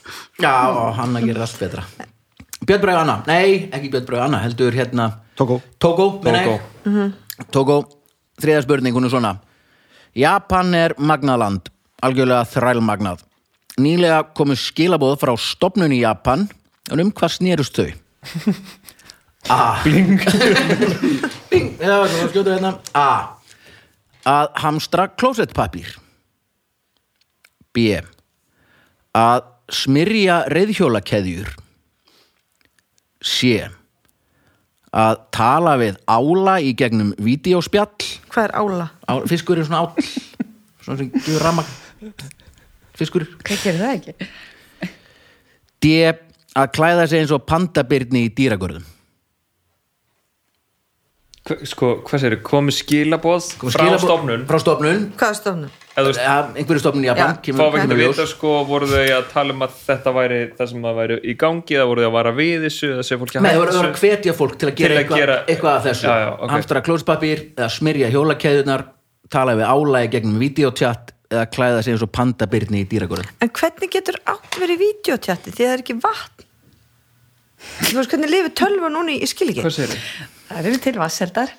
[SPEAKER 1] Já, og Hanna gerir allt betra Björn Bragi og Anna, nei, ekki Björn Bragi og Anna heldur hérna
[SPEAKER 3] Tókó.
[SPEAKER 1] Tókó, meina
[SPEAKER 2] Tókó.
[SPEAKER 1] ég. Tókó, þriða Mhm. spurning, hún er svona Japan er magnaland algjörlega þrælmagnað Nýlega komu skilaboð frá stopnun í Japan en um hvað snerust [LAUGHS] þau? A Bling [LAUGHS] Bling, já, það skjótur hérna A Að hamstra klósettpapír B að smyrja reyðhjólakeðjur C að tala við ála í gegnum vídeospjall
[SPEAKER 5] Hvað er ála?
[SPEAKER 1] Á- fiskur er svona áll svona sem gefur ramag fiskur
[SPEAKER 4] Hvað gerir það ekki?
[SPEAKER 1] D að klæða sig eins og pandabirni í dýragörðum
[SPEAKER 2] Hva- sko, hvað segir, komið skilaboð
[SPEAKER 1] Kom
[SPEAKER 2] frá
[SPEAKER 1] skilabó-
[SPEAKER 2] stofnun
[SPEAKER 1] frá stofnun
[SPEAKER 5] Hvað er stofnum?
[SPEAKER 2] eða þú veist,
[SPEAKER 1] Ja, einhverju stofnun í Japan
[SPEAKER 5] Já,
[SPEAKER 2] fáum
[SPEAKER 1] kemur,
[SPEAKER 2] við ekki
[SPEAKER 1] kemur
[SPEAKER 2] að
[SPEAKER 1] ljós
[SPEAKER 2] vita sko, voru þau að tala um að þetta væri það sem það væri í gangi, eða voru þau að vara við þessu eða sé fólki
[SPEAKER 1] Nei, það voru að hvetja fólk til að gera,
[SPEAKER 2] Til að
[SPEAKER 1] eitthvað,
[SPEAKER 2] gera-
[SPEAKER 1] eitthvað að þessu
[SPEAKER 2] Já, já, ok.
[SPEAKER 1] hamstra klóspapír eða smyrja hjólakeðunar tala við álægi gegnum videotjatt eða klæða sig eins og pandabirni í dýragörðum
[SPEAKER 5] En hvernig getur átt verið í videotjatti því að það er ekki vatn? Þú veist hvernig lifið tölva núna í, ég skil ekki.
[SPEAKER 2] Hvað segir þið?
[SPEAKER 4] það eru til vasseldar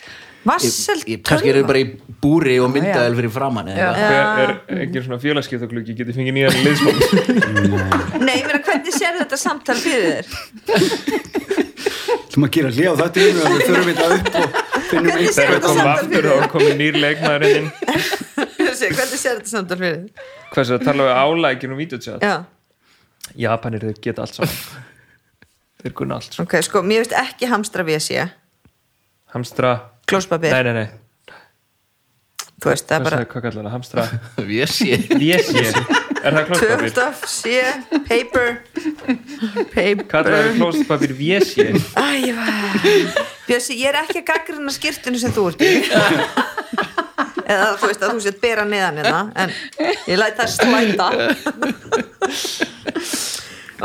[SPEAKER 5] Vassel
[SPEAKER 1] Ég- ég- kannski eru
[SPEAKER 5] tölva.
[SPEAKER 1] þau bara í búri og
[SPEAKER 4] Já, já.
[SPEAKER 1] myndaðel fyrir framann eða eitthvað.
[SPEAKER 2] Er engin svona félagskiptaglugi getið fengið nýjan liðsmann
[SPEAKER 5] Nei, ég meina hvernig sér þetta samtal
[SPEAKER 1] [LAUGHS]
[SPEAKER 5] fyrir þér?
[SPEAKER 3] sem að gera hlið á þetta og við förum þetta upp og finnum
[SPEAKER 5] Hvernig
[SPEAKER 3] eitthvað
[SPEAKER 5] sér
[SPEAKER 2] þegar
[SPEAKER 5] þetta
[SPEAKER 2] kom
[SPEAKER 5] samtal
[SPEAKER 2] aftur
[SPEAKER 5] fyrir
[SPEAKER 2] og komið nýr leikmaðurinn inn.
[SPEAKER 5] þér? Hvernig sér þetta samtal fyrir þér?
[SPEAKER 2] hvað sér að tala við álækinn og videotjátt
[SPEAKER 5] Já,
[SPEAKER 2] Japanir þeir geta allt saman [LAUGHS] þeir kunna allt sko.
[SPEAKER 5] ok, sko, mér veist ekki hamstra við að sé
[SPEAKER 2] hamstra,
[SPEAKER 5] klóspapir,
[SPEAKER 2] nei nei nei
[SPEAKER 5] þú veist, það er
[SPEAKER 2] hvað
[SPEAKER 5] bara
[SPEAKER 2] sagði- hvað kallar það, hamstra
[SPEAKER 1] [LAUGHS] Ég sé
[SPEAKER 2] vési, er það klóspapir
[SPEAKER 5] töfstaf, sé, paper
[SPEAKER 2] kallar
[SPEAKER 5] paper
[SPEAKER 2] það klóspapir vési
[SPEAKER 5] Æjá Bjössi, ég er ekki að gaggrina skirtinu sem þú ert í eða þú veist að þú sétt bera neðan hérna en ég læt það slæta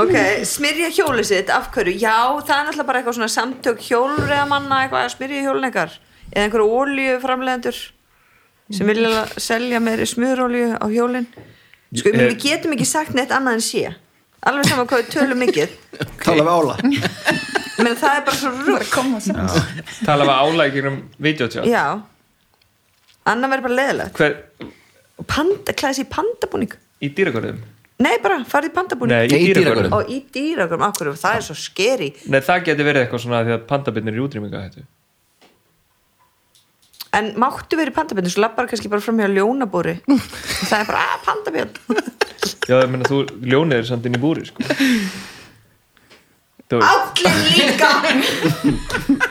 [SPEAKER 5] ok, smyrja hjóli sitt af hverju, já það er náttúrulega bara eitthvað svona samtök hjólreðamanna eitthvað að smyrja hjólin eitthvað eða einhverju ólíuframlegendur sem vilja selja meiri smurólíu á hjólin sko, ég meina, við getum ekki sagt neitt annað en sé alveg saman hvað við tölum mikið
[SPEAKER 3] tala við ála
[SPEAKER 5] Ég meina, það er bara svo rugg
[SPEAKER 4] koma sem
[SPEAKER 2] tala við álækinn um videotjátt
[SPEAKER 5] Já Anna verður bara leðilegt
[SPEAKER 2] hver,
[SPEAKER 5] Panda, klæðis í pandabúning
[SPEAKER 2] í dýrakorðum
[SPEAKER 5] Nei bara, farið í
[SPEAKER 2] nei,
[SPEAKER 5] pandabúning
[SPEAKER 1] Nei,
[SPEAKER 2] í
[SPEAKER 1] í dýragörðum.
[SPEAKER 2] dýrakorðum
[SPEAKER 5] Og í dýragrum, akkur, það er svo skeri
[SPEAKER 2] nei, það geti verið eitthvað svona því að pandabirnir eru útrýminga hættu
[SPEAKER 5] En máttu verið í pandabjörn Svo lappar kannski bara fram hjá
[SPEAKER 1] [LAUGHS]
[SPEAKER 5] ljónabúri Það er bara, "Ah, að pandabjörn
[SPEAKER 2] já, ég meina þú, ljónið er samt inn í búri sko. þú veist,
[SPEAKER 5] Allir
[SPEAKER 1] [LAUGHS]
[SPEAKER 5] líka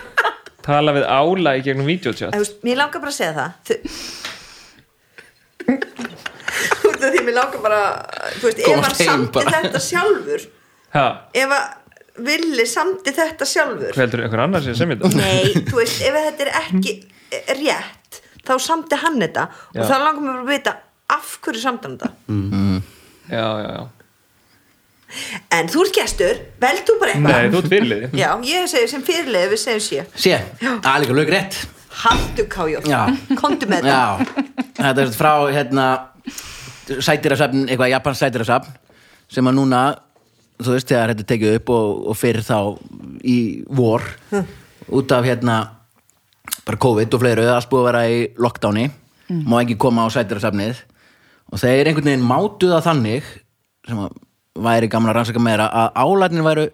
[SPEAKER 2] tala við álækinn um gegnum
[SPEAKER 5] Æ,
[SPEAKER 2] videotjátt
[SPEAKER 5] þú veist, Mér langar bara að segja það Þau... Út af því mér langar bara Þú veist, ef
[SPEAKER 1] Komast
[SPEAKER 5] hann
[SPEAKER 1] heim
[SPEAKER 5] samti
[SPEAKER 1] bara.
[SPEAKER 5] þetta sjálfur
[SPEAKER 2] hvað
[SPEAKER 5] Ef að villi samti þetta sjálfur
[SPEAKER 2] heldur einhver annar sem sem þetta
[SPEAKER 1] [LAUGHS]
[SPEAKER 5] Nei, þú veist, ef þetta er ekki rétt, þá samti hann þetta
[SPEAKER 2] Já.
[SPEAKER 5] og þá langar mér bara að vita af hverju samti hann þetta.
[SPEAKER 2] já, já, já
[SPEAKER 5] En þú ert gestur, vel þú bara eitthvað.
[SPEAKER 2] Nei, þú ert fyrirliði
[SPEAKER 5] Já, ég segi sem fyrirlega við segjum sé.
[SPEAKER 1] Sé, það er líka lög rétt
[SPEAKER 5] Haldu kájó,
[SPEAKER 1] Já.
[SPEAKER 5] komdu með þetta.
[SPEAKER 1] Já, þetta er frá hérna sætirasafn, eitthvað Japans sætirasafn sem að núna, þú veist þegar þetta er tekið upp og, og fyrir þá í vor út af hérna bara COVID og fleiru, það er allt búið að vera í lockdowni má ekki koma á sætirasafnið og þeir einhvern veginn mátu það þannig sem að væri gamla rannsaka meira að álætnin væru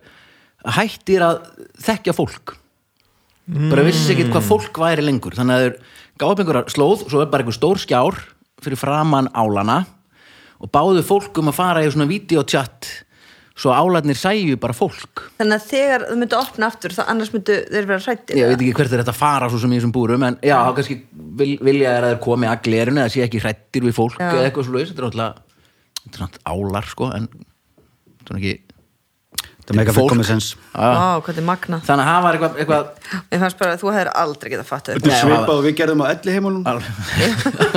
[SPEAKER 1] hættir að þekkja fólk bara vissi ekki hvað fólk væri lengur þannig að þeir gáðu upp einhverja slóð svo er bara einhver stór skjár fyrir framan álana og báðu fólk um að fara í svona videotjatt svo álarnir sæju bara fólk
[SPEAKER 5] Þannig að þegar þú myndu opna aftur, þá annars myndu þeir vera hrættir.
[SPEAKER 1] ég veit ekki hvert er þetta að fara svo sem í þessum búrum en já, þá kannski vil, vilja er að þeir komi að glerinu eða sé ekki hrættir við fólk
[SPEAKER 5] Já.
[SPEAKER 1] eða eitthvað svo þetta er náttúrulega þetta er náttúrulega álar sko en þetta er nú ekki
[SPEAKER 3] það meika
[SPEAKER 1] Fólk.
[SPEAKER 3] fyrir komið sens
[SPEAKER 5] Vá, hvað þetta er magna.
[SPEAKER 1] þannig að hafa eitthvað, eitthvað
[SPEAKER 5] Mér fannst bara að þú hefur aldrei getað fatt þetta.
[SPEAKER 3] þetta er
[SPEAKER 1] Nei,
[SPEAKER 3] svipað
[SPEAKER 1] það-
[SPEAKER 3] og við gerðum á elli heimunum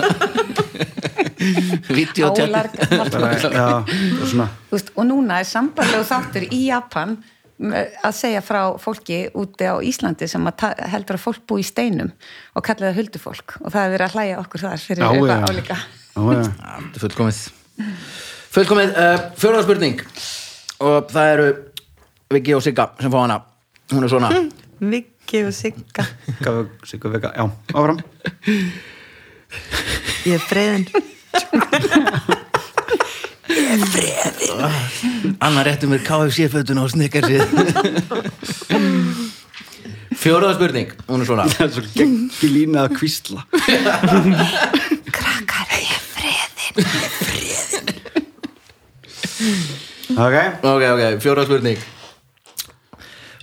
[SPEAKER 1] videotjatt
[SPEAKER 4] álar gamalt fólk.
[SPEAKER 3] já, það er svona
[SPEAKER 4] Þú veist, og núna er sambarlegu þáttur í Japan með- að segja frá fólki úti á Íslandi sem að ta- heldur að fólk búi í steinum og kalla það huldufólk og það er verið að hlæja okkur þar fyrir
[SPEAKER 3] Já,
[SPEAKER 4] eitthvað
[SPEAKER 3] já.
[SPEAKER 4] álíka
[SPEAKER 3] Já, já.
[SPEAKER 1] Já, þetta er fullkomið fullkomið, uh, fjóraða spurning og það eru Viki og Sigga sem fá hana hún er svona [LAUGHS]
[SPEAKER 5] Viki og Sigga.
[SPEAKER 3] Gaf- Sigga Vega, já, áfram
[SPEAKER 5] Ég er freyðin.
[SPEAKER 1] annar réttum er KFC-fötun og snikkar [LAUGHS] síð fjóraða spurning, hún er svona
[SPEAKER 3] það er svo geggi lína að kvísla
[SPEAKER 5] Krakkar, ég er freyðin.
[SPEAKER 1] ok,
[SPEAKER 3] ok,
[SPEAKER 1] ok, fjóraða spurning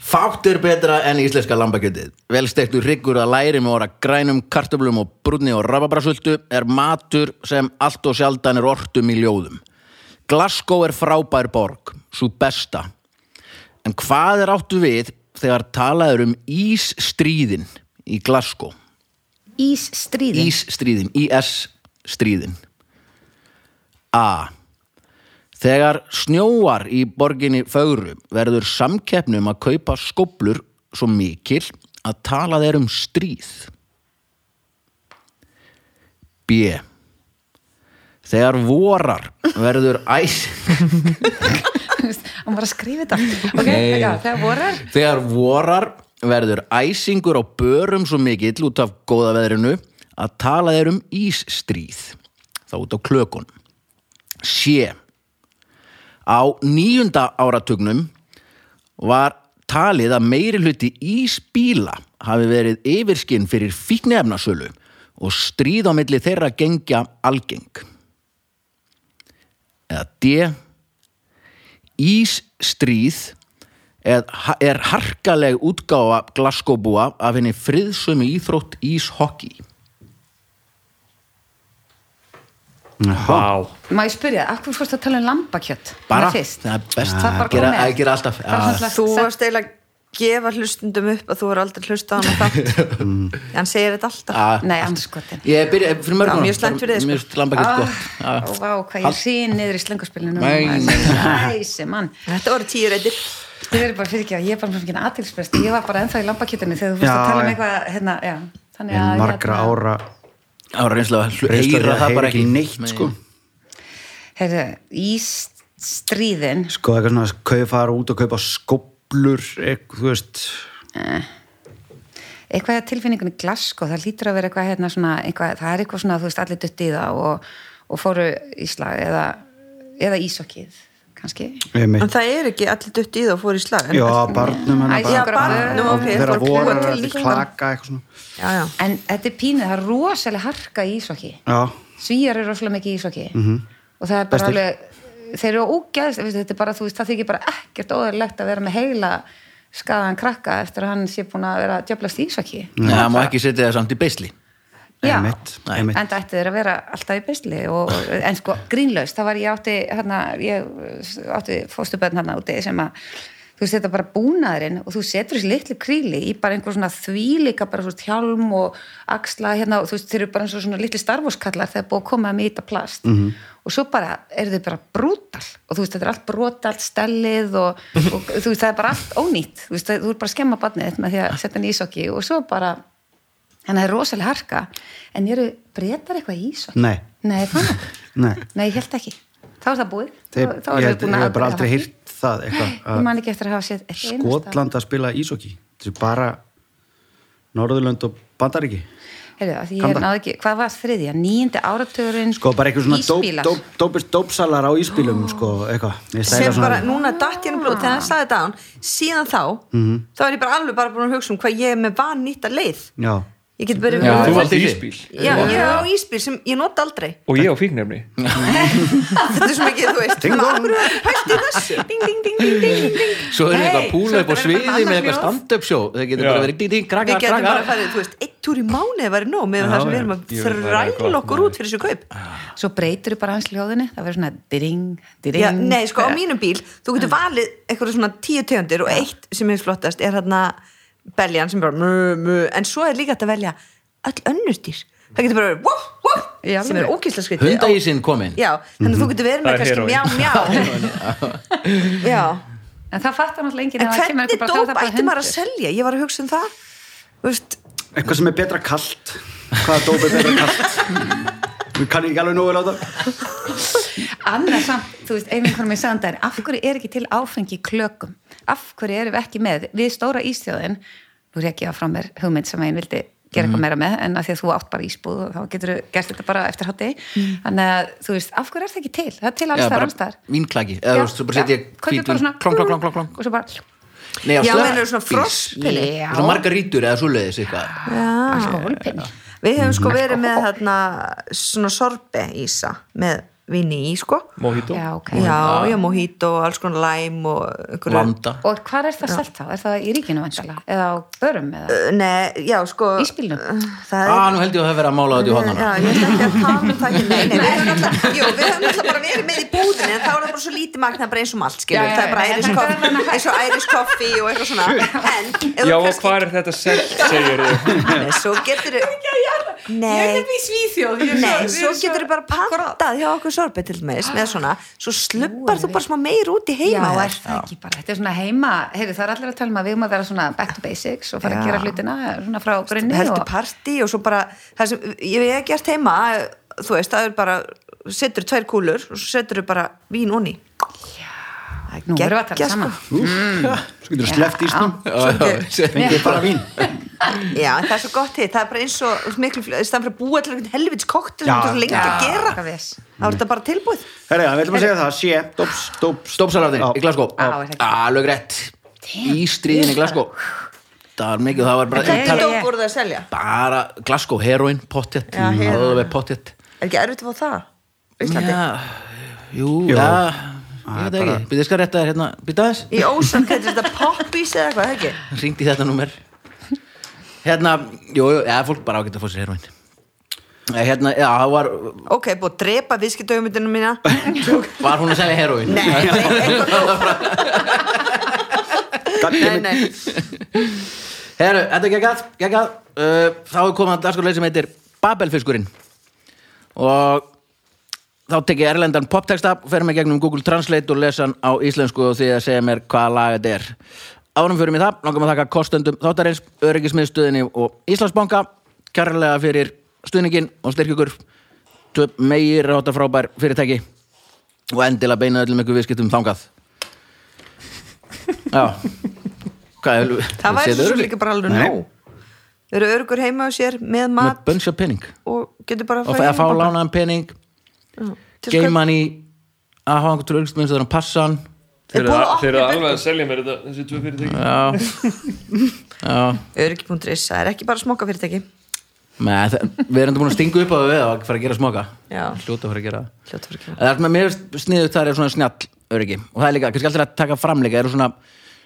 [SPEAKER 1] Fátt er betra en íslenska lambakjötið. Velstektur hryggur að læri með orða grænum kartöflum og brúnni og rababrasultu er matur sem allt og sjaldan er ortum í ljóðum. Glasgow er frábær borg, svo besta. En hvað er áttu við þegar talaður um ísstríðin í Glasgow?
[SPEAKER 4] Ísstríðin
[SPEAKER 1] Ísstríðin, IS-stríðin A Þegar snjóar í borginni fögru verður samkeppnum að kaupa skóplur svo mikil að tala þeir um stríð B Þegar vorar verður æsing
[SPEAKER 4] hann var að skrifa þetta ok,
[SPEAKER 1] Nei.
[SPEAKER 4] já, þegar vorar
[SPEAKER 1] Þegar vorar verður æsingur á börum svo mikill út af góða veðrinu að tala þeir um ísstríð þá út á klökun sé á nýjunda áratugnum var talið að meiri hluti ísbíla hafi verið yfirskinn fyrir fíknefnasölu og stríð á milli þeirra gengja algeng eða D Ísstríð er, er harkaleg útgáfa glaskóbúa af henni friðsömi íþrótt íshokki
[SPEAKER 2] Vá,
[SPEAKER 4] má ég spyrja, af hverju fórstu að tala um lambakjött
[SPEAKER 1] bara,
[SPEAKER 4] það fyrst,
[SPEAKER 1] það er best
[SPEAKER 4] það bara
[SPEAKER 1] að gera,
[SPEAKER 4] kom með.
[SPEAKER 1] að gera alltaf
[SPEAKER 4] Bara
[SPEAKER 1] að,
[SPEAKER 4] svona-
[SPEAKER 5] Þú varst eiginlega að gefa hlustundum upp að þú er aldrei hlusta á hann
[SPEAKER 1] [LAUGHS]
[SPEAKER 5] þátt
[SPEAKER 1] Mm.
[SPEAKER 5] hann segir þetta alltaf
[SPEAKER 1] að,
[SPEAKER 4] nei, anskotin
[SPEAKER 1] ég byrja eh, fyrir
[SPEAKER 5] Já,
[SPEAKER 1] mörgum
[SPEAKER 5] mjög slæmt fyrir þig, sko.
[SPEAKER 1] mjög slæmt
[SPEAKER 4] Ah,
[SPEAKER 1] gott
[SPEAKER 4] og
[SPEAKER 1] að,
[SPEAKER 4] vá, hvað ég sé niður í slöngarspilinu
[SPEAKER 1] Nei,
[SPEAKER 4] næsi, mann
[SPEAKER 5] Þetta voru tíu reytir
[SPEAKER 4] þið verður bara fyrir ekki að ég er bara fyrir ekki aðtilsprest ég var bara ennþá í lambakjötinu þegar þú fórst
[SPEAKER 3] Já,
[SPEAKER 4] að tala um
[SPEAKER 3] já.
[SPEAKER 4] eitthvað hérna, já, þannig
[SPEAKER 3] en
[SPEAKER 4] að
[SPEAKER 3] margra
[SPEAKER 4] hérna-
[SPEAKER 3] ára
[SPEAKER 1] á reynslega
[SPEAKER 3] reynsla
[SPEAKER 1] heyra
[SPEAKER 3] þeirra
[SPEAKER 1] það
[SPEAKER 3] heyra
[SPEAKER 1] bara ekki
[SPEAKER 3] neitt sko
[SPEAKER 4] Heyrðu, ístríðin
[SPEAKER 3] sko eitthvað svona að kaupa fara út og kaupa skoblur eitthvað, þú veist
[SPEAKER 4] eitthvað að tilfinningunni glasko, það lítur að vera eitthvað hérna svona, eitthvað, það er eitthvað svona þú veist, allir dutti í það og, og fóru í slag eða, eða ísokkið kannski,
[SPEAKER 3] ég
[SPEAKER 5] En
[SPEAKER 3] mitt
[SPEAKER 5] það er ekki allir dutt í það og fór í slag en-
[SPEAKER 3] já, barnum
[SPEAKER 4] Æ, já, barnum,
[SPEAKER 5] ok,
[SPEAKER 3] þeirra
[SPEAKER 5] fór að
[SPEAKER 3] voru
[SPEAKER 5] klúa til
[SPEAKER 3] að
[SPEAKER 5] líka.
[SPEAKER 3] klaka eitthvað svona
[SPEAKER 5] já, já.
[SPEAKER 4] en þetta er pínuð það er rosalega harka í ísokki
[SPEAKER 3] já,
[SPEAKER 4] svíjar eru rosalega mikið í ísokki -hmm. og það er bara
[SPEAKER 3] Bestir.
[SPEAKER 4] alveg þeir eru ógæðst, veistu, þetta er bara, þú veist, það þykir bara ekkert óðurlegt að vera með heila skaðan krakka eftir að hann sé búin að vera að djöflast í ísokki
[SPEAKER 1] það má ekki setja það samt í beisli
[SPEAKER 4] Já,
[SPEAKER 3] Einmitt,
[SPEAKER 1] Nei.
[SPEAKER 3] einmitt.
[SPEAKER 4] en það ætti þeir að vera alltaf í besli og, en sko grínlaust, það var ég átti hérna, ég átti fóstuböðn hérna úti sem að þú veist þetta bara búnaðurinn og þú setur þessi litlu kríli í bara einhver svona þvílika bara svona hjálm og axla hérna og þú veist þeir eru bara eins og svona litli starfoskallar þegar búið að koma að mýta plast -hmm.
[SPEAKER 3] Mhm.
[SPEAKER 4] og svo bara eru þau bara brútal og þú veist þetta er allt brútal stellið og, og þú veist það er bara allt ónýtt þú veist það- þú er bara að skemma barnið þitt með því
[SPEAKER 3] Ah.
[SPEAKER 4] að setja hann í ísokki og svo bara Þannig að það er rosalega harka, en eru breytar eitthvað í ísokki?
[SPEAKER 3] Nei.
[SPEAKER 4] Nei, fann það.
[SPEAKER 3] nei
[SPEAKER 4] Nei, ég held ekki. Þá er það búið.
[SPEAKER 3] Þeir,
[SPEAKER 4] þá, þá erum
[SPEAKER 3] ég,
[SPEAKER 4] við
[SPEAKER 3] held-
[SPEAKER 4] búin
[SPEAKER 3] ég
[SPEAKER 4] að
[SPEAKER 3] hef bara aldrei hýrt það
[SPEAKER 4] Ég
[SPEAKER 3] eitthvað að
[SPEAKER 4] man ekki eftir að hafa séð eitt einasta.
[SPEAKER 3] Skotland að spila ísokki þetta er bara Norðurlönd og Bandaríki
[SPEAKER 4] Heyrðu, af því ég
[SPEAKER 3] Kanada.
[SPEAKER 4] náði ekki, hvað var þriðja? Níundi áratugurinn,
[SPEAKER 3] sko bara eitthvað svona dóp,
[SPEAKER 4] ísbílar.
[SPEAKER 3] dóp, dópist dópsalar á ísbílum sko eitthvað Mér finnst það
[SPEAKER 5] sem
[SPEAKER 3] eiginlega
[SPEAKER 5] bara núna datt hérna brot þegar hann sagði þetta á hann síðan þá,
[SPEAKER 3] Mhm.
[SPEAKER 5] þá er ég bara alveg bara búin að hugsa um hvað ég er með van nýtta leið
[SPEAKER 3] já,
[SPEAKER 5] ég get verið
[SPEAKER 1] Já,
[SPEAKER 5] já,
[SPEAKER 1] þú
[SPEAKER 2] þú
[SPEAKER 1] valdir
[SPEAKER 2] valdi
[SPEAKER 1] þig.
[SPEAKER 2] ísbíl
[SPEAKER 5] ég er á ísbíl sem ég nota aldrei [LAUGHS]
[SPEAKER 2] og ég á fíknefni
[SPEAKER 5] þetta er svo mikið, þú veist
[SPEAKER 3] Ding
[SPEAKER 5] þannig
[SPEAKER 3] dong.
[SPEAKER 5] að hverju er pælt í þessu ding, ding, ding, ding, ding, ding, ding
[SPEAKER 1] svo er
[SPEAKER 5] Nei,
[SPEAKER 1] eitthvað
[SPEAKER 5] svo
[SPEAKER 1] púla upp á
[SPEAKER 5] þetta verður
[SPEAKER 1] sviði
[SPEAKER 5] bara
[SPEAKER 1] með
[SPEAKER 5] annað
[SPEAKER 1] eitthvað
[SPEAKER 5] hljóð.
[SPEAKER 1] stand-up show það getur
[SPEAKER 2] Já.
[SPEAKER 1] bara verið ding, ding,
[SPEAKER 5] við
[SPEAKER 1] krakkar,
[SPEAKER 5] getum bara
[SPEAKER 1] krakkar
[SPEAKER 5] farið, þú veist, eitt túr í mánu væri nóg með það sem við erum
[SPEAKER 2] ég
[SPEAKER 5] að
[SPEAKER 2] vil bara
[SPEAKER 5] þræla
[SPEAKER 2] gott
[SPEAKER 5] okkur
[SPEAKER 2] með.
[SPEAKER 5] út fyrir þessu kaup
[SPEAKER 4] svo breytur þau bara hans hljóðinni, það verður svona diring, diring.
[SPEAKER 5] Já, nei, sko á mínum bíl, þú
[SPEAKER 4] Mm.
[SPEAKER 5] getur valið eitthvað svona tíu tegundir og eitt sem er flottast er hérna beljan sem bara mö, mö, en svo er líka hægt að velja öll önnur dýr, það getur bara verið voff, voff,
[SPEAKER 4] Já,
[SPEAKER 5] sem er
[SPEAKER 4] alveg.
[SPEAKER 5] ókýrslega skrítið
[SPEAKER 1] hundægisinn kominn
[SPEAKER 5] Já, þannig að þú getur verið
[SPEAKER 2] Það
[SPEAKER 5] með
[SPEAKER 2] er
[SPEAKER 5] kannski
[SPEAKER 2] heroín.
[SPEAKER 5] mjá, mjá Já,
[SPEAKER 4] En það fattar náttúrulega enginn
[SPEAKER 5] en
[SPEAKER 4] að það kemur
[SPEAKER 5] hvernig
[SPEAKER 4] eitthvað bara- það er
[SPEAKER 5] dóp
[SPEAKER 4] bara
[SPEAKER 5] ætti maður að
[SPEAKER 4] hundur.
[SPEAKER 5] selja? Ég var að hugsa um það Þú veist,
[SPEAKER 3] eitthvað sem er betra kalt hvaða dóp er betra kalt við kannum ekki alveg nógu láta
[SPEAKER 4] Annað samt, þú veist, einu einhvern veginn sagðan daginn, af hverju er ekki til áfengi í klökum? Af hverju erum við ekki með? Við stóra ísþjóðin, nú rekja frá mér hugmynd sem einn vildi gera
[SPEAKER 1] Mhm.
[SPEAKER 4] eitthvað meira með, en að því að þú átt bara ísbúð og þá getur þú gert þetta bara eftir hátti. Þannig að, þú veist, af hverju er það ekki til? Það er til
[SPEAKER 1] Mhm. Já,
[SPEAKER 4] alls
[SPEAKER 1] bara
[SPEAKER 4] þar, alls þar.
[SPEAKER 1] vínklaki eða þú veist, svo bara setja ég
[SPEAKER 4] Kaupir bara svona,
[SPEAKER 1] klong, klong, klong, klong, klong.
[SPEAKER 4] og svo bara,
[SPEAKER 1] Nei, á
[SPEAKER 5] Já,
[SPEAKER 1] slabbi-
[SPEAKER 5] meinarðu svona
[SPEAKER 1] bís.
[SPEAKER 5] frostpili?
[SPEAKER 4] Já.
[SPEAKER 1] Svona margarítur eða svoleiðis eitthvað
[SPEAKER 4] skólpinn.
[SPEAKER 5] við hefum sko verið með þarna svona sorbe ísa með vinni í, sko
[SPEAKER 2] Mojito
[SPEAKER 4] Já, ok.
[SPEAKER 5] Já, já, mojito og alls konar læm og einhverju
[SPEAKER 1] landa
[SPEAKER 4] Og hvað er það selt þá? Er það í ríkinu
[SPEAKER 1] Sko.
[SPEAKER 4] vandalega? Eða á börum?
[SPEAKER 1] Eh,
[SPEAKER 4] Eða?
[SPEAKER 5] Nei, já, sko
[SPEAKER 4] Ísbílnum?
[SPEAKER 5] Það er
[SPEAKER 1] Ah, nú held ég að það vera að mála þetta í
[SPEAKER 5] Já,
[SPEAKER 1] hodnana
[SPEAKER 5] ég ætla ekki að tala um það ekki Nei, nei, við höfum alltaf Jú, við höfum alltaf bara verið með í búðinni En þá er það bara svo lítið magn Það er bara eins og um allt,
[SPEAKER 4] Já,
[SPEAKER 5] skilur
[SPEAKER 4] já,
[SPEAKER 5] Það er bara
[SPEAKER 4] já,
[SPEAKER 5] Irish
[SPEAKER 4] en-
[SPEAKER 5] coffee Eins og Irish coffee og eitthvað svona En, ef þú
[SPEAKER 2] Já, og
[SPEAKER 5] kannski-
[SPEAKER 2] hvað er þetta selt, segir þau
[SPEAKER 5] Nei, svo getur Nei,
[SPEAKER 4] í Svíþjóð.
[SPEAKER 5] nei, svo getur þau bara pantað hjá okkur sorbet til meðis með svona, svo slubbar þú bara smá meir út í
[SPEAKER 4] Já,
[SPEAKER 5] heima og
[SPEAKER 4] er
[SPEAKER 5] þér.
[SPEAKER 4] það ekki bara, þetta er svona heima heyri, það er allir að tala um að við um að vera svona back to basics og fara að
[SPEAKER 5] Já.
[SPEAKER 4] gera hlutina svona frá grunni
[SPEAKER 5] heldur
[SPEAKER 4] og,
[SPEAKER 5] partí og svo bara það sem ég hef gert heima þú veist, það er bara setur tvær kúlur og svo setur þau bara vín onni
[SPEAKER 4] Nú erum við að tala saman
[SPEAKER 5] sko.
[SPEAKER 3] Svo getur þú sleppt í snum
[SPEAKER 5] Fengið
[SPEAKER 3] Fengið bara vín
[SPEAKER 5] Já, en það er svo gott hitt, það er bara eins og þú veist, miklu, í staðan fyrir að búa til einhvern helvits kokti sem
[SPEAKER 3] Já.
[SPEAKER 5] þú er svo lengi að gera
[SPEAKER 4] hvað viss.
[SPEAKER 5] þá er þetta bara tilbúið
[SPEAKER 3] Herra, við ætlum að segja það, sé, dops, dops
[SPEAKER 1] Stópsalatin
[SPEAKER 3] Já.
[SPEAKER 1] í Glasgow
[SPEAKER 4] Já, er það ekki?
[SPEAKER 1] Alveg rétt Í stríðin í Glasgow Það var mikið, það var bara
[SPEAKER 5] Hvernig
[SPEAKER 4] tala-
[SPEAKER 5] dóp voru það að selja?
[SPEAKER 1] Bara Glasgow, heroin, pottet
[SPEAKER 5] Já, heroin.
[SPEAKER 1] Alveg pottet
[SPEAKER 5] Er ekki erfitt að fá það? Á Íslandi?
[SPEAKER 1] Já, jú,
[SPEAKER 3] Jú.
[SPEAKER 1] já Ég veit það ekki, býðið skal rétta þér hérna Býta þess,
[SPEAKER 5] Í ósann, hvernig er þetta poppies eða eitthvað, ekki?
[SPEAKER 1] ringdi þetta númer Hérna, jú, jú, eða fólk bara ágætt að fá sér heroin Eh, Hérna, já, það var
[SPEAKER 5] Ok, búið að drepa viskidauðmyndinu mína
[SPEAKER 4] [LAUGHS]
[SPEAKER 1] Var hún að selja heroin?
[SPEAKER 5] Nei, eitthvað Nei,
[SPEAKER 3] Gagnið
[SPEAKER 5] nei
[SPEAKER 1] Herru, þetta er geggjað, geggjað. Uh, þá er komað dagskorleik sem heitir Babelfiskurinn og þá tek ég erlendan poptexta, fer mig gegnum Google Translate og lesa hann á íslensku og því að segja mér hvaða lag þetta er. Árum fyrir mig það, langum að þakka kostendum þáttarins, öryggismiðstöðinni og Íslandsbanka, kærlega fyrir stuðningin og styrkjökur, meir átta frábær fyrirtæki og endilega beina öllum ykkur viðskiptum
[SPEAKER 5] [LAUGHS]
[SPEAKER 1] þangað. Já, hvað er
[SPEAKER 5] Það væri svo sem líka bara alveg
[SPEAKER 3] Nei.
[SPEAKER 5] nóg Þau eru örugur heima á sér með
[SPEAKER 1] með
[SPEAKER 5] mat
[SPEAKER 1] bunch af pening
[SPEAKER 5] og getur bara
[SPEAKER 1] og að fá
[SPEAKER 5] heim
[SPEAKER 1] lánaðan pening
[SPEAKER 5] til að
[SPEAKER 1] geima hann í að hafa einhvern tröggst minnst þannig að passa hann
[SPEAKER 5] Þeir
[SPEAKER 2] Þeir eru
[SPEAKER 5] búið að
[SPEAKER 2] að- þeir eru
[SPEAKER 5] opna
[SPEAKER 2] alveg að selja mér þetta þessi tvö fyrirtæki
[SPEAKER 1] já, já
[SPEAKER 5] kaup- Öryggi.is, það er ekki bara smokka fyrirtæki
[SPEAKER 1] Nei, það, við erum búin að stinga upp á það við að fara að gera smoka
[SPEAKER 5] Já.
[SPEAKER 1] hljóta að fara að gera það
[SPEAKER 5] Hljóta fyrir ekki
[SPEAKER 1] En það sem er mér sniðut þar er svona snjall öryggi og það er líka, kannski alltaf að taka fram líka eru svona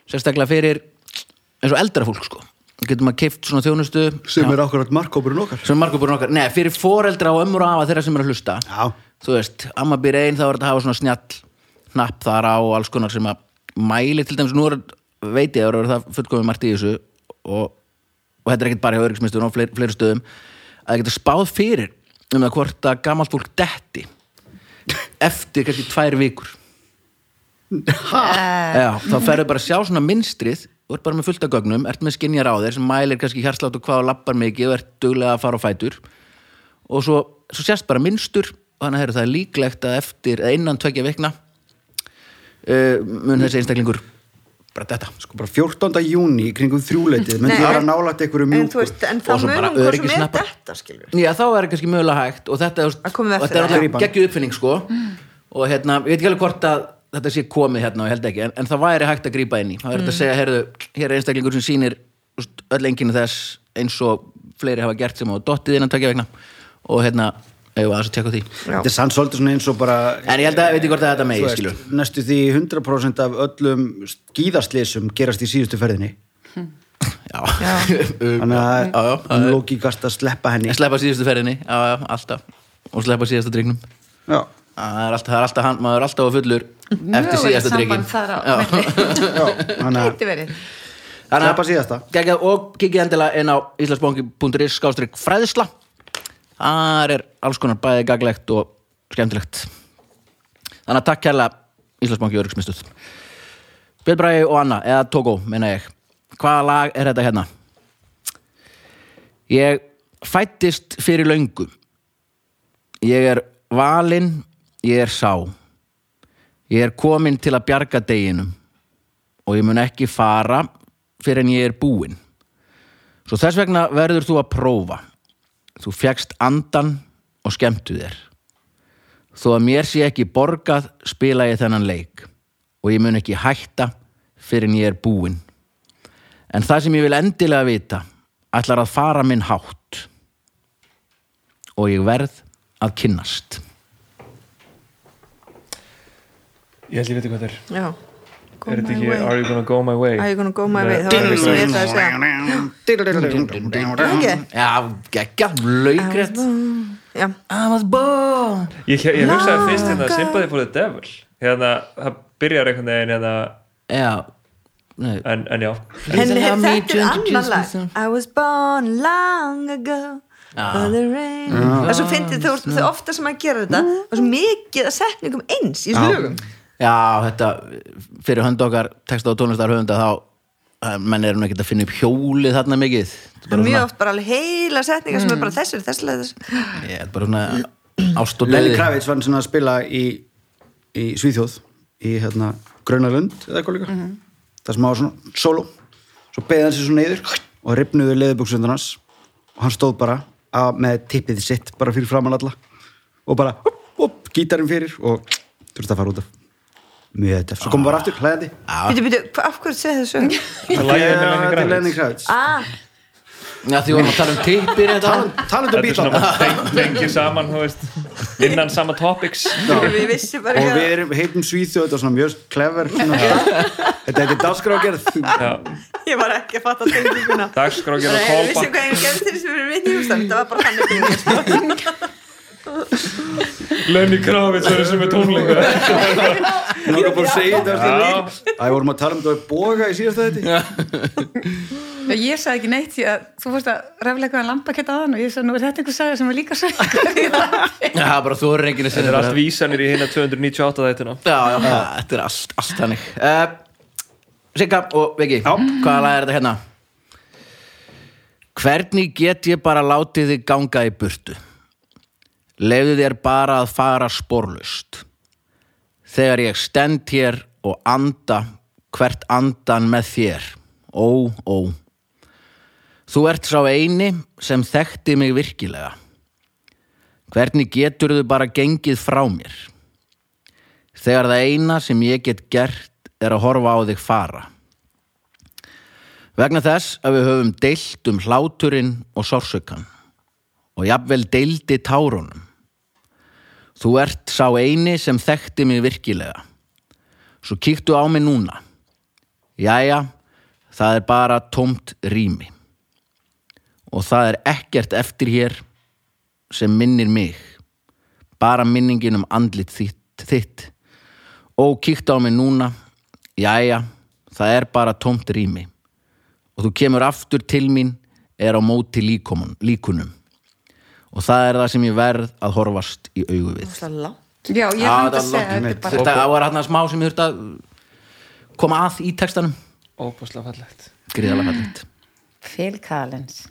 [SPEAKER 1] sérstaklega fyrir eins og eldra fólk sko getur maður keift svona þjónustu
[SPEAKER 3] Sem er okkur átt markkópurinn okkar
[SPEAKER 1] sem margur búin okkar, neða fyrir foreldra og ömmur og afa þeirra sem eru að hlusta
[SPEAKER 3] Já.
[SPEAKER 1] þú veist, amma býr ein þá er þetta að hafa svona snjall hnapp þar á og alls konar sem að mæli til dæmis, nú er, veit ég að það er það fullkomið margt í þessu og, og þetta er ekkert bara hjá öryggismistur og fleiri, fleiri stöðum að það getur spáð fyrir um það hvort að gamalt fólk detti eftir kannski tvær vikur Já, þá ferðu bara að sjá svona minnstrið og ert bara með fullt af gögnum, ert með skinjar á þér sem mælir kannski hjarslátt og hvað og lappar mikið og ert duglega að fara á fætur og svo, svo sérst bara minnstur og þannig að heyrðu, það er líklegt að eftir eða innan tvekja vikna uh, mun þessi einstaklingur bara þetta
[SPEAKER 3] Sko bara 14. júni í kringum þrjúleitið menn
[SPEAKER 5] Nei,
[SPEAKER 3] þið vera
[SPEAKER 5] en-
[SPEAKER 3] nálægt einhverju
[SPEAKER 5] En þú
[SPEAKER 3] mjúku
[SPEAKER 5] veist, en þá
[SPEAKER 1] Og svo bara
[SPEAKER 5] munum hvað sem er
[SPEAKER 1] öryggissnappar.
[SPEAKER 5] þetta, skilur
[SPEAKER 1] Já, þá er kannski mögulega hægt og þetta,
[SPEAKER 5] Að koma
[SPEAKER 1] og
[SPEAKER 5] með
[SPEAKER 1] þetta er
[SPEAKER 5] fyrir
[SPEAKER 1] alltaf
[SPEAKER 3] það.
[SPEAKER 1] geggju uppfinning sko og hérna, ég veit ekki alveg hvort að þetta sé komið hérna og ég held ekki, en, en það væri hægt að grípa inn í, það er
[SPEAKER 5] Mm.
[SPEAKER 1] þetta að segja, heyrðu hér er einstaklingur sem sýnir úst, öll enginn þess eins og fleiri hafa gert sem á dottið innan tvekja vegna og hérna, eigum við aðeins að tjekka á því
[SPEAKER 5] Já.
[SPEAKER 3] Þetta er sann svolítið svona eins og bara
[SPEAKER 1] en ég held að, ég veit ekki hvort að þetta
[SPEAKER 3] þú
[SPEAKER 1] megi,
[SPEAKER 3] veist,
[SPEAKER 1] skilur
[SPEAKER 3] Næstu því 100% af öllum skýðaslýsum gerast í síðustu ferðinni
[SPEAKER 1] já, [LAUGHS]
[SPEAKER 3] Þannig að
[SPEAKER 1] Já, já,
[SPEAKER 3] um logíkast að sleppa henni
[SPEAKER 1] En sleppa síðustu ferðinni, já, já, alltaf og sleppa síðasta drygnum
[SPEAKER 3] Já,
[SPEAKER 1] það er alltaf, það er alltaf, hann, maður er alltaf á fullur eftir
[SPEAKER 4] Mögulegt
[SPEAKER 1] síðasta
[SPEAKER 4] samband
[SPEAKER 1] drykkin
[SPEAKER 4] þar á
[SPEAKER 3] já, þannig að
[SPEAKER 4] Gæti verið
[SPEAKER 3] Sleppa síðasta.
[SPEAKER 1] geggjað, og kikið endilega inn á íslandsbanki.is skástrík fræðisla þar er alls konar bæði gaglegt og skemmtilegt þannig að takk kærlega Íslandsbanki Öryggsmistuð Björn Bragi og Anna, eða Togo, meina ég hvaða lag er þetta hérna? ég fættist fyrir löngu ég er valinn ég er sá ég er kominn til að bjarga deginum og ég mun ekki fara fyrir en ég er búinn. Svo þess vegna verður þú að prófa. Þú fegst andan og skemmtu þér. Þó að mér sé ekki borgað spila ég þennan leik og ég mun ekki hætta fyrir en ég er búinn. En það sem ég vil endilega vita ætlar að fara minn hátt og ég verð að kynnast.
[SPEAKER 2] Ég held ég veit hvað þetta er
[SPEAKER 5] Já Go
[SPEAKER 2] Er þetta
[SPEAKER 5] my
[SPEAKER 2] ekki
[SPEAKER 5] way.
[SPEAKER 2] Are you gonna go my way?
[SPEAKER 5] Are you gonna go my way?
[SPEAKER 2] Nei.
[SPEAKER 5] Það var eitthvað sem ég ætlaði að segja. Ekki?
[SPEAKER 1] Já, geggja, laukrétt.
[SPEAKER 5] Já.
[SPEAKER 1] I was born.
[SPEAKER 2] Ég, ég, ég hugsaði fyrst hérna Sympathy for the Devil hérna, það byrjar einhvern veginn hérna,
[SPEAKER 1] Já, nei,
[SPEAKER 2] en, en já
[SPEAKER 1] Allow
[SPEAKER 5] En
[SPEAKER 1] me
[SPEAKER 5] þetta
[SPEAKER 1] to introduce
[SPEAKER 5] er annan lag
[SPEAKER 1] myself.
[SPEAKER 5] I was born long ago for the rain Það er svo fyndið þú ert þau ofta sem að gera þetta og svo mikið að setningum eins í þessu lögum
[SPEAKER 1] Já, þetta fyrir hönd okkar texta og tónlistar höfunda þá eh, menn eru nú ekkert að finna upp hjólið þarna mikið Þetta er
[SPEAKER 5] Það er
[SPEAKER 1] bara
[SPEAKER 5] mjög
[SPEAKER 1] svona,
[SPEAKER 5] oft bara alveg heila setningar sem er bara þessir, þessir, þessir
[SPEAKER 1] ég, þetta er bara svona Ást og
[SPEAKER 3] Lenny
[SPEAKER 1] döði
[SPEAKER 3] Kravitz var svona að spila í, í Svíþjóð í hérna Grönalund eða eitthvað líka það sem hafa svona solo svo beði hann sér svona yfir og ripnuðu leðubuksundan hans og hann stóð bara að, með tippið sitt bara fyrir framan alla og bara upp, upp, gítarinn fyrir og þurfti að fara út af mjög þetta, svo kom bara aftur hlæðandi
[SPEAKER 5] Býtu, býtu, hva- af hverju segir þessu?
[SPEAKER 2] Það hérna er lagið með Lenny Kravitz.
[SPEAKER 3] Lenny Kravitz
[SPEAKER 5] Ah,
[SPEAKER 1] Já, því vorum að tala um tippir þetta áðan.
[SPEAKER 3] talandu
[SPEAKER 2] Þetta er
[SPEAKER 3] bíla
[SPEAKER 2] svona teng- tengir saman, þú veist, innan sama topics.
[SPEAKER 5] [LAUGHS] við vissum bara
[SPEAKER 3] og
[SPEAKER 5] ekki
[SPEAKER 3] við
[SPEAKER 5] að
[SPEAKER 3] erum, heitum Svíþjóð þetta er svona mjög clever svona, þetta er dagskrágerð
[SPEAKER 2] Já,
[SPEAKER 5] [LAUGHS] Ég var ekki að fatta tenginguna
[SPEAKER 2] dagskrákir og
[SPEAKER 5] Nei, Ég vissi
[SPEAKER 2] kólpa.
[SPEAKER 5] hvað ég gerði til þess að við erum vitni í hústan Þetta var bara þannig fyrir mér sko.
[SPEAKER 2] Lenny Kravitz er þessi með tónleika.
[SPEAKER 3] Nú erum bara að segja þetta
[SPEAKER 2] Já.
[SPEAKER 3] eftir Æ, vorum að tala um þetta að boga í síðasta þetta
[SPEAKER 4] Já, ég sagði ekki neitt því að þú fórst að rafleika um lambakett aðan og ég sagði, nú er þetta einhver saga sem er líka svo
[SPEAKER 1] Já, það er bara þú er reyngin að
[SPEAKER 2] Þetta
[SPEAKER 1] sinna
[SPEAKER 2] er allt vísanir í hérna 298 þættina.
[SPEAKER 1] Já, já, þetta er allt, allt hannig uh, Sigga og Viki Hvaða lag er þetta hérna? Hvernig get ég bara látið þig ganga í burtu? Leifðu þér bara að fara sporlust Þegar ég stend hér og anda hvert andan með þér Ó, ó Þú ert sá eini sem þekkti mig virkilega Hvernig geturðu bara gengið frá mér? Þegar það eina sem ég get gert er að horfa á þig fara. Vegna þess að við höfum deilt um hláturinn og sársökan og jafnvel deildi tárunum. Þú ert sá eini sem þekkti mig virkilega. Svo kíktu á mig núna. Jæja, það er bara tómt rými. Og það er ekkert eftir hér sem minnir mig. Bara minningin um andlit þitt, þitt Ó, kíktu á mig núna. Jæja, það er bara tómt rými. Og þú kemur aftur til mín, er á móti líkomun, líkunum. Og það er það sem ég verð að horfast í augu við.
[SPEAKER 5] Það er
[SPEAKER 4] [LAUGHS]
[SPEAKER 5] langt
[SPEAKER 4] Já, ég
[SPEAKER 1] Já,
[SPEAKER 4] hann
[SPEAKER 1] þetta
[SPEAKER 4] að
[SPEAKER 1] er
[SPEAKER 4] segja
[SPEAKER 1] langt
[SPEAKER 4] þetta er
[SPEAKER 3] mitt.
[SPEAKER 4] bara
[SPEAKER 1] Þetta var hann smá sem ég þurfti að koma að í textanum.
[SPEAKER 2] Óbúslega fallegt.
[SPEAKER 1] Gríðalega fallegt.
[SPEAKER 4] Phil Collins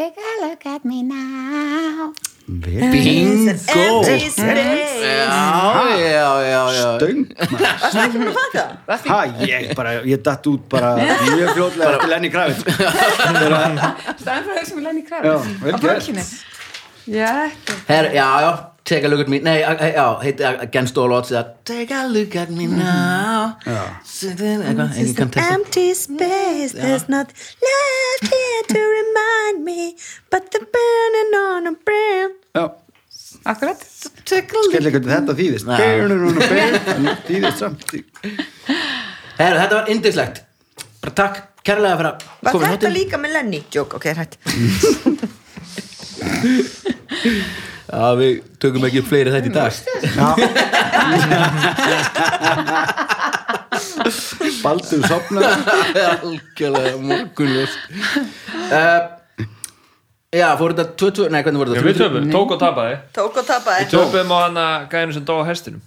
[SPEAKER 4] Take a look at me now
[SPEAKER 1] Bingo!
[SPEAKER 5] Empty space
[SPEAKER 1] Já, já, já, já.
[SPEAKER 3] Stöng maður. Ha, ég bara, ég datt út bara mjög fljótlega eftir Lenny [LAUGHS] Kravitz
[SPEAKER 4] Stæðan frá þessum Lenny
[SPEAKER 3] Já, vel
[SPEAKER 4] Kravitz á
[SPEAKER 3] gert.
[SPEAKER 4] borginni Já, ekki
[SPEAKER 1] Her, já, já, take a look at me Nei, a- a- já, heiti Against All Odds eða Take a look at me now Eitthvað, engin kann texta
[SPEAKER 5] Empty space There's nothing left here to remind me But the burning on a brim
[SPEAKER 4] Akkurat
[SPEAKER 3] Skellir hvernig þetta þýðist
[SPEAKER 1] Já.
[SPEAKER 3] Beirinu núna, beirinu Þýðist samt
[SPEAKER 1] Her, þetta var indislegt Bara takk, kærlega fyrir að
[SPEAKER 5] Var
[SPEAKER 1] koma í
[SPEAKER 5] þetta
[SPEAKER 1] þáttinn.
[SPEAKER 5] líka með Lenny? Jók, ok, hætt
[SPEAKER 1] Já, við tökum ekki fleiri þetta í [LAUGHS] dag
[SPEAKER 3] Baldur sopna
[SPEAKER 1] Algjörlega morgunlust uh, Já, fór þetta 22, nei, hvernig voru
[SPEAKER 2] Já,
[SPEAKER 1] þetta?
[SPEAKER 2] Við töfum, tók og tapaði.
[SPEAKER 5] Tók og tapaði
[SPEAKER 2] Töfum á hana gæðinu sem dó á hestinum.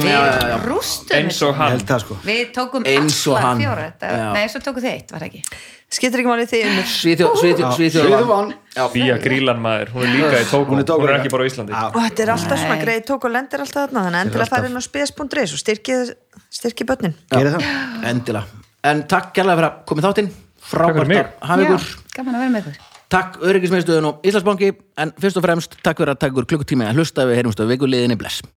[SPEAKER 4] Við rústum
[SPEAKER 2] Eins og
[SPEAKER 3] Ég
[SPEAKER 2] hann.
[SPEAKER 3] held það sko
[SPEAKER 4] Við tókum
[SPEAKER 1] Eins og
[SPEAKER 4] alla
[SPEAKER 1] hann.
[SPEAKER 4] fjóra þetta-
[SPEAKER 1] Já.
[SPEAKER 4] Nei, svo tókum þið eitt, var það ekki
[SPEAKER 5] Skiptir ekki málið því unnur
[SPEAKER 1] Svíþjóð,
[SPEAKER 3] Já,
[SPEAKER 1] Svíþjóð,
[SPEAKER 3] Svíþjóð
[SPEAKER 1] Svíþjóð
[SPEAKER 3] vann.
[SPEAKER 2] Fía Grílan maður, hún er líka í tókum. Hún er,
[SPEAKER 3] tók líka.
[SPEAKER 2] ekki bara á Íslandi.
[SPEAKER 3] Já.
[SPEAKER 5] Og þetta er alltaf svona greið tók og lendir alltaf þarna Þannig að endilega fara inn á spes.is og styrkið styrki börnin
[SPEAKER 3] Gerið það
[SPEAKER 1] Endilega En takk kærlega fyrir að koma í þáttinn
[SPEAKER 2] fyrir
[SPEAKER 1] Frábært
[SPEAKER 2] mig.
[SPEAKER 1] að hafa ykkur
[SPEAKER 4] Já, Gaman að vera með ykkur
[SPEAKER 1] Takk öryggismiðstöðun og Íslandsbanki en fyrst og fremst takk fyrir að taka ykkur klukkutími að hlusta við heyrumst á vikuliðinni bless.